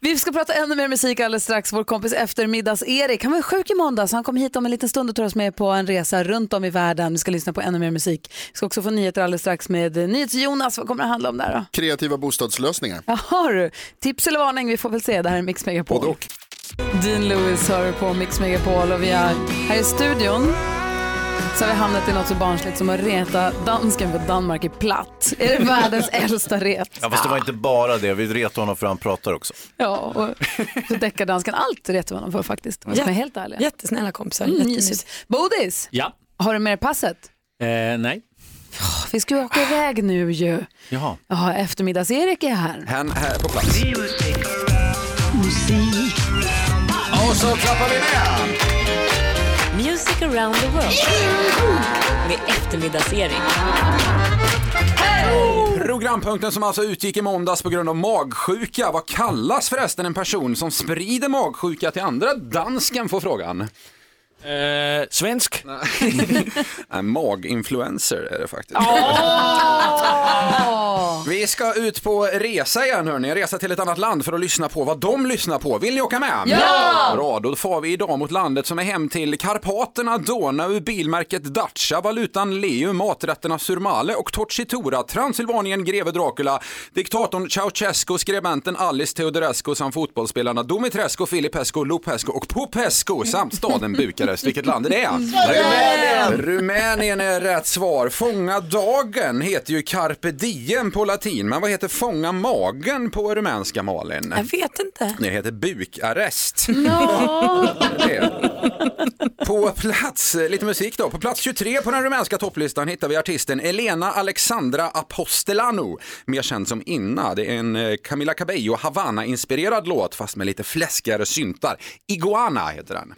A: Vi ska prata ännu mer musik alldeles strax. Vår kompis eftermiddags-Erik, han var sjuk i måndags. Han kom hit om en liten stund och tar oss med på en resa runt om i världen. Vi ska lyssna på ännu mer musik. Vi ska också få nyheter alldeles strax med eh, NyhetsJonas. Vad kommer det handla om där då?
G: Kreativa bostadslösningar.
A: Jaha du, tips eller varning? Vi får väl se. Det här är Mix Megapol. Både
G: och.
A: Dean Lewis hör på Mix Megapol och vi är här i studion. Så har vi hamnat i något så barnsligt som att reta dansken för Danmark är platt. Är det världens äldsta ret?
B: Ja, fast det var inte bara det, vi retade honom för han pratar också.
A: Ja, och så deckardansken. Allt retar man honom för faktiskt. Om jag ska vara
C: Jätte-
A: helt ärlig.
C: Jättesnälla kompisar,
A: Mm,
C: jättemysigt.
A: mysigt. Bodis,
Q: Ja,
A: har du med dig passet? Ah.
Q: eh, nej.
A: Vi ska ju åka iväg nu ju.
Q: Jaha.
A: Ja, eftermiddags-Erik är här.
L: Han är på plats.
A: Musik.
G: och så klappar vi ner.
S: Music around the world. Med eftermiddagsering.
T: Programpunkten som alltså utgick i måndags på grund av magsjuka. Vad kallas förresten en person som sprider magsjuka till andra? Dansken får frågan.
H: Øh, svensk?
T: Nej, maginfluencer är det faktiskt. Vi ska ut på resa igen hörni, resa till ett annat land för att lyssna på vad de lyssnar på. Vill ni åka med?
D: Ja!
T: Bra, då far vi idag mot landet som är hem till Karpaterna, Donau, bilmärket Dacia, valutan Leu, maträtterna Surmale och Torcitura, Transylvanien, greve Dracula, diktatorn Ceausescu, skribenten Alice Teodorescu samt fotbollsspelarna Dumitrescu, Filipescu, Lupescu och Popescu samt staden Bukarest. Vilket land är det?
C: Mm.
D: Rumänien!
T: Rumänien är rätt svar. Fånga dagen heter ju carpe diem på latin, men vad heter fånga magen på rumänska Malin?
C: Jag vet inte.
T: Det heter bukarrest.
C: No.
T: På plats, eh, lite musik då, på plats 23 på den rumänska topplistan hittar vi artisten Elena Alexandra Apostelanu, mer känd som Inna. Det är en eh, Camila Cabello Havana-inspirerad låt fast med lite fläskigare syntar. Iguana heter den.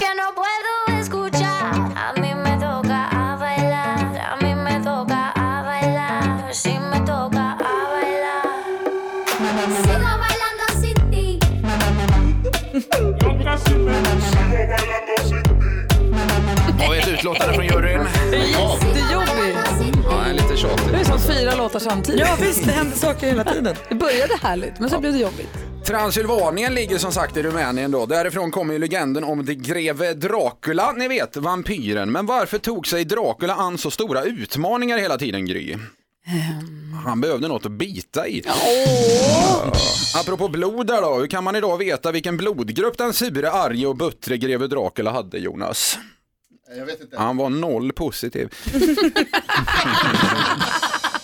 D: Que no puedo escuchar, a mí me toca a bailar, a mí me toca a bailar, si me toca a bailar. Sigo bailando sin ti.
T: Har vi ett utlåtande från juryn?
A: Jättejobbig.
T: Ja, en lite tjatig.
A: Det är som fyra låtar samtidigt.
T: Ja, visst, det händer
A: saker hela tiden. Det började härligt, men sen blev det jobbigt.
T: Transylvanien ligger som sagt i Rumänien då. Därifrån kommer ju legenden om de greve Dracula, ni vet vampyren. Men varför tog sig Dracula an så stora utmaningar hela tiden Gry? Han behövde något att bita i. Ja. Apropå blod där då, hur kan man idag veta vilken blodgrupp den sure, arge och buttre greve Dracula hade Jonas?
G: Jag vet inte.
T: Han var noll positiv.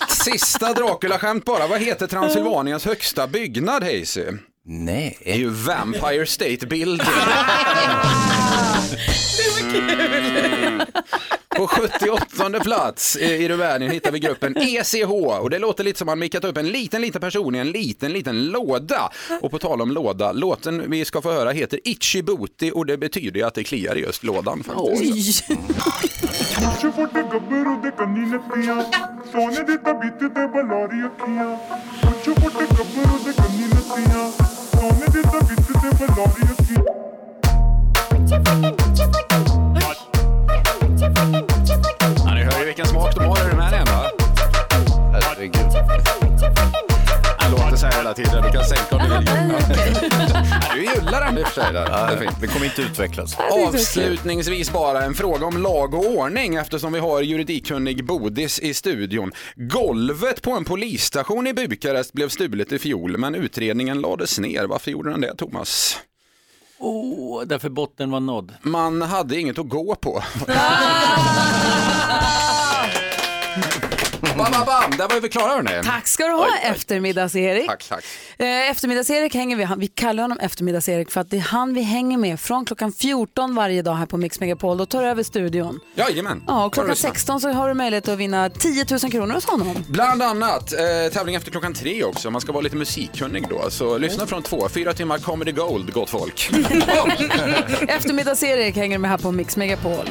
T: Sista Dracula-skämt bara. Vad heter Transylvaniens högsta byggnad, Hazy? Nej. Det är ju Vampire State Building. På 78 plats eh, i Rumänien hittar vi gruppen ECH och det låter lite som man mickat upp en liten, liten person i en liten, liten låda. Och på tal om låda, låten vi ska få höra heter Ichibuti och det betyder ju att det kliar i just lådan faktiskt.
D: Mucho fuerte gabber och det kaniner fria. Sonen det tar bitte det ballar i akia. Mucho fuerte gabber och det kaniner fria. Sonen det tar bitte det ballar i akia.
T: Ja, ni hör ju vilken smak de har i Rumänien va? Herregud. Den låter så här hela tiden, du kan sänka om du vill. Du gillar den i och för sig. Där. Det, är fint. det kommer inte utvecklas. Avslutningsvis bara en fråga om lag och ordning eftersom vi har juridikkunnig Bodis i studion. Golvet på en polisstation i Bukarest blev stulet i fjol men utredningen lades ner. Varför gjorde den det Thomas?
Q: Oh, därför botten var nådd.
T: Man hade inget att gå på. Bam, bam, bam! Där var vi klara hörni.
A: Tack ska du ha, eftermiddags-Erik.
T: Tack, tack.
A: Eh, eftermiddags-Erik hänger vi, han- vi kallar honom eftermiddags-Erik för att det är han vi hänger med från klockan 14 varje dag här på Mix Megapol. Då tar du över studion.
T: Jajamän.
A: Ja, och
T: Har du
A: klockan
T: lyssnat?
A: 16 så har du möjlighet att vinna 10 000 kronor hos honom.
T: Bland annat eh, tävling efter klockan tre också. Man ska vara lite musikkunnig då. Så
A: Mm.
T: lyssna från två. Fyra timmar Comedy Gold, gott folk.
A: Eftermiddags-Erik hänger med här på Mix Megapol.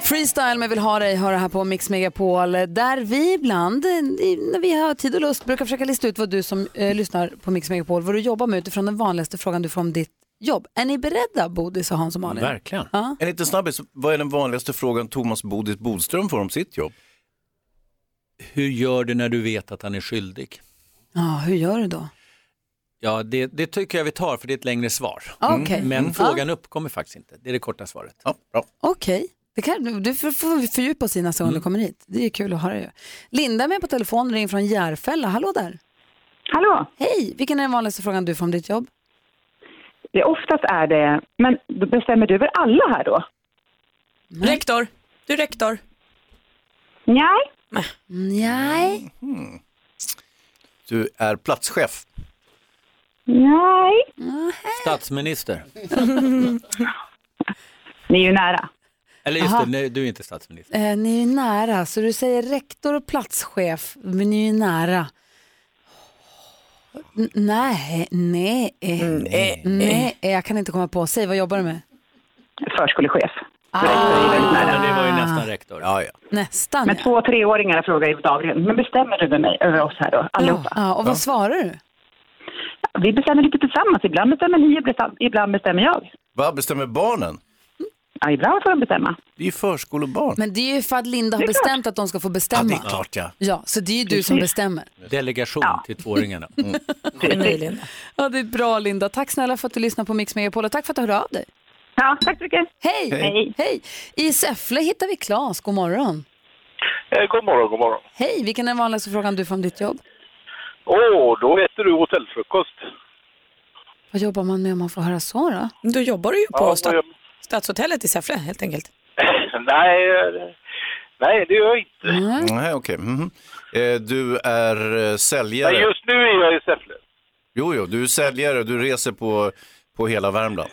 A: Freestyle med Vill ha dig hör här på Mix Megapol där vi ibland, eh, i- när vi har tid och lust, brukar försöka lista ut vad du som eh, lyssnar på Mix Megapol, vad du jobbar med utifrån den vanligaste frågan du får om ditt jobb. Är ni beredda Bodis och Hans och Malin?
B: Verkligen.
A: Ja.
B: En liten snabbis, vad är den vanligaste frågan Thomas Bodis Bodström får om sitt jobb?
Q: Hur gör du när du vet att han är skyldig?
A: Ja, hur gör du då?
Q: Ja, det, det tycker jag vi tar för det är ett längre svar.
A: Ah, okej.
Q: Men
A: Mm.
Q: frågan uppkommer faktiskt inte. Det är det korta svaret.
A: Okej, det kan, du får- får vi fördjupa oss i nästa gång du kommer hit. Det är ju kul att höra ju. Linda är med på telefon, ring från Järfälla. Hallå där!
N: Hallå!
A: Hej! Vilken är den vanligaste frågan du får om ditt jobb?
N: Det oftast är det, men då bestämmer du över alla här då?
C: Mm. Rektor, du är rektor.
N: Nej.
A: Nej.
B: Du är platschef,
N: Nej.
A: Mm.
Q: Statsminister.
N: Ni är ju nära.
Q: Eller just
A: Aha.
Q: det, nej, du är inte statsminister.
A: Eh, ni är ju nära, så du säger rektor och platschef, men ni är ju nära. N- Nej, nej, eh,
N: Mm, eh,
A: nej, nej, eh, jag kan inte komma på. Säg, vad jobbar du med?
N: Förskolechef.
A: Ah,
N: det var ju
B: nästan rektor. Ja, ja.
A: nästan.
N: Men två och treåringar frågar ju dagligen, men bestämmer du över mig, över oss här då, allihopa?
A: Ja, och vad svarar du?
N: Vi bestämmer lite tillsammans, ibland bestämmer ni, ibland- ibland bestämmer jag.
B: Vad bestämmer barnen?
N: Ja, ibland får de bestämma.
B: Det är ju förskolebarn.
A: Men det är ju för att Linda har
N: Det är klart.
A: bestämt att de ska få
B: Ja,
A: bestämma.
B: det är klart ja.
A: Ja, så det är ju du
N: Mm.
A: som
B: Precis.
A: bestämmer.
Q: Delegation till tvååringarna.
B: Mm.
A: Ja, det är bra Linda. Tack snälla för att du lyssnar på Mix Megapol och tack för att du hörde av dig.
N: Ja, tack så mycket.
A: Hej!
N: Hej.
A: Hej. I Säffle hittar vi Claes. God morgon.
U: Eh, God morgon, god morgon.
A: Hej, vilken är den vanligaste frågan du får om ditt jobb?
U: Åh, då äter du hotellfrukost.
A: Vad jobbar man med om man får höra så då?
C: Då jobbar du ju på
U: Ja,
C: sta-
U: vad gör-
C: Stadshotellet i Säffle helt enkelt.
U: nej, eh, nej, det gör jag inte.
A: Mm.
B: Nej, okej. Mhm. Eh, Du är eh, säljare.
U: Nej, just nu är jag i Säffle.
B: Jo, jo, du är säljare. Du reser på, på hela Värmland.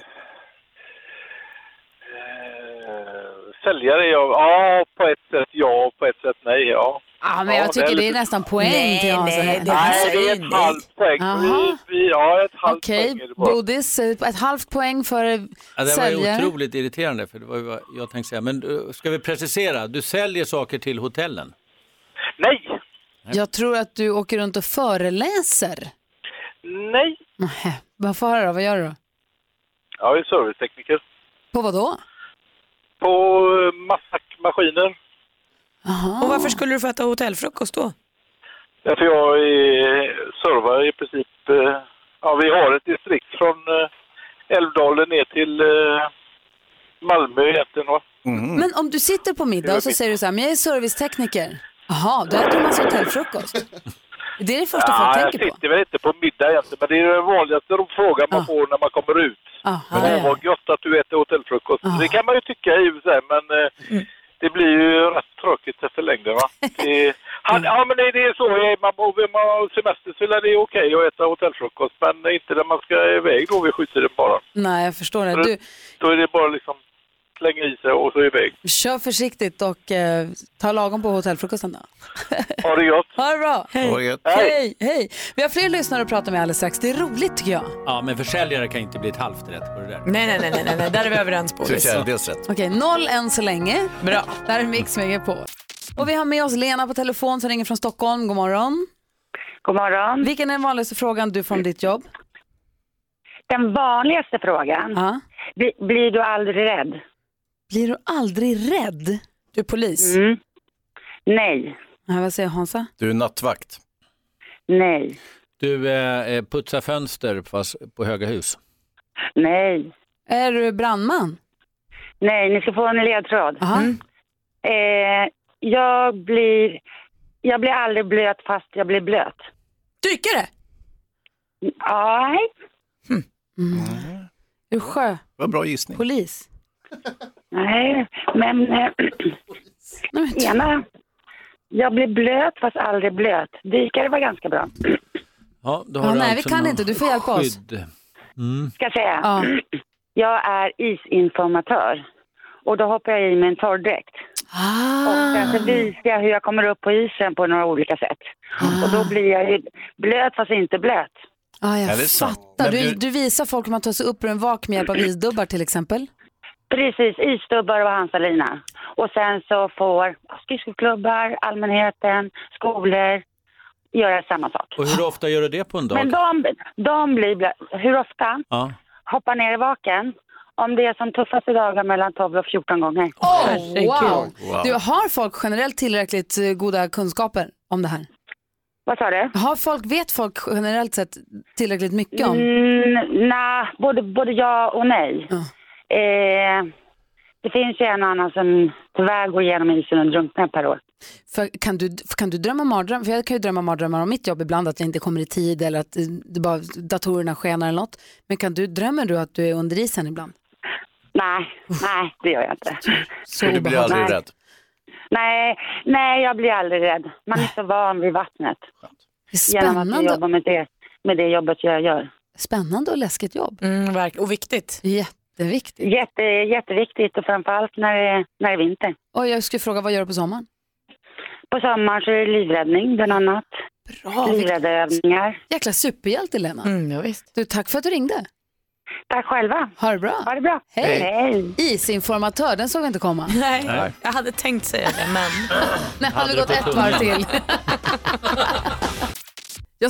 U: Eh, Säljare, ja, ja, på ett sätt ja, på ett sätt nej, ja.
A: Ja, men jag tycker det är nästan poäng
U: Nej,
A: till Hans.
U: nej, det Nej, det är ett halvt poäng.
A: Jaha.
U: Vi, vi har ett halvt
A: Okej,
U: poäng. är det bara.
A: Bodis, eh, ett halvt poäng för
Q: Ja, det var ju
A: säljare.
Q: otroligt irriterande, för det var ju vad jag tänkte säga. Men eh, ska vi precisera, du säljer saker till hotellen?
U: Nej!
A: Jag tror att du åker runt och föreläser.
U: Nej.
A: Nähä. Vad får jag höra då? Vad gör du då?
U: Jag är servicetekniker.
A: På vad då?
U: På eh, massakmaskiner.
C: Och varför skulle du få äta hotellfrukost då?
U: Därför jag är, servar i princip, eh, ja vi har ett distrikt från eh, Älvdalen ner till eh, Malmö egentligen va.
A: Men om du sitter på middag och så säger du så här, men jag är servicetekniker. Jaha, då äter du massa hotellfrukost. Det är det första folk
U: jag
A: tänker på.
U: sitter väl inte på middag egentligen men det är den vanligaste frågan man får när man kommer ut.
A: Ah,
U: Men det var gött att du äter hotellfrukost. Det kan man ju tycka i och för sig men eh,
A: Mm.
U: det blir ju rätt tråkigt efter längden va. Det, han,
A: Mm.
U: ja men det det är så, är man på vill man ha semester så är det okej att äta hotellfrukost men inte när man ska iväg då vid sjutiden bara.
A: Nej, jag förstår det.
U: För
A: Du,
U: Då är det bara liksom slänga i sig och så iväg.
A: kör försiktigt och eh, ta lagom på hotellfrukosten då.
U: Ha det gott!
A: Ha det bra!
Q: Ha det
A: Hej.
Q: gött.
A: Hej, hej! Vi har fler lyssnare att prata med alldeles strax. Det är roligt tycker jag.
Q: Ja, men försäljare kan ju inte bli ett halvt rätt på det där.
C: Nej, nej, nej, nej, nej, nej. där är vi överens på.
Q: Till fjärdedels rätt.
A: Okej, noll än så länge.
C: Bra.
A: Där är Mix på. Och vi har med oss Lena på telefon som ringer från Stockholm. God morgon.
N: God morgon.
A: Vilken är den vanligaste frågan du får om ditt jobb?
N: Den vanligaste frågan, Bli- blir du aldrig rädd?
A: Blir du aldrig rädd? Du är polis?
N: Mm. Nej.
A: Nej, vad säger Hansa?
B: Du är nattvakt.
N: Nej.
Q: Du eh, putsar fönster fast på höga hus.
N: Nej.
A: Är du brandman?
N: Nej, ni ska få en ledtråd.
B: Mm.
N: Eh, jag, blir, jag blir aldrig blöt fast jag blir blöt.
C: Dykare?
N: Nej.
A: Mm. Du sjö?
B: Hm. Vad bra gissning.
A: Polis?
N: Nej, men eh, ena. Jag blir blöt fast aldrig blöt. Dykare var ganska bra.
Q: Ja, då
N: Ja,
Q: har du
N: nej, vi
Q: alltså
N: kan
Q: någon
N: inte. Du får hjälpa oss.
Q: skydd. Mm.
N: Ska jag säga. Jag är isinformatör. Och då hoppar jag i mig en torrdräkt. Och sen så visar jag hur jag kommer upp på isen på några olika sätt. Och då blir jag ju blöt fast inte blöt.
A: Ah,
N: Ja,
A: jag
N: det är sant.
A: fattar.
N: Men
A: Du,
N: du-
A: du visar folk hur man tar sig upp ur en vak med hjälp av isdubbar till exempel.
N: Precis, isstubbar och handsalina. Och sen så får skridskoklubbar, allmänheten, skolor göra samma sak.
Q: Och hur ofta gör du det på en dag?
N: Men de, de blir blöt. Hur ofta?
Q: Ja.
N: Hoppar ner i vaken. Om det är som tuffaste dagar mellan 12 och 14 gånger.
A: Oh, Wow.
N: Wow.
A: Du har folk generellt tillräckligt eh, goda kunskaper om det här?
N: Vad sa du?
A: Har folk, vet folk generellt sett tillräckligt mycket om?
N: Mm, nej, både, både ja och nej. Eh, det finns ju en och annan som tyvärr går igenom isen och drunknar per år.
A: För kan, du, kan du drömma mardrömmar? För jag kan ju drömma mardrömmar om mitt jobb ibland, att jag inte kommer i tid eller att eh, det bara, datorerna skenar eller något. Men kan du, drömmer du att du är under isen ibland?
N: Nej, nej det gör jag inte.
A: Så du blir aldrig
N: Nej.
A: rädd?
N: Nej, nej, jag blir aldrig rädd. Man är så van vid vattnet. Genom att
A: Spännande.
N: jag jobbar med det, med det jobbet jag gör.
A: Spännande och läskigt jobb.
C: Mm, verk- och viktigt.
A: Jätteviktigt.
N: Jätte, jätteviktigt och framförallt när det, när det är vinter.
A: Och jag skulle fråga, vad gör du på sommaren?
N: På sommaren så är det livräddning bland annat.
A: Bra,
N: Lirade övningar.
A: Jäkla superhjälte Lena. Mm, ja, visst. Du, tack för att du ringde.
N: Tack själva.
A: Ha det bra.
N: Ha det bra.
A: Hej.
N: Hej.
A: Isinformatör, den såg vi inte komma.
C: Nej, jag hade tänkt säga det men...
A: Nej, hade vi gått ett varv till. Ja,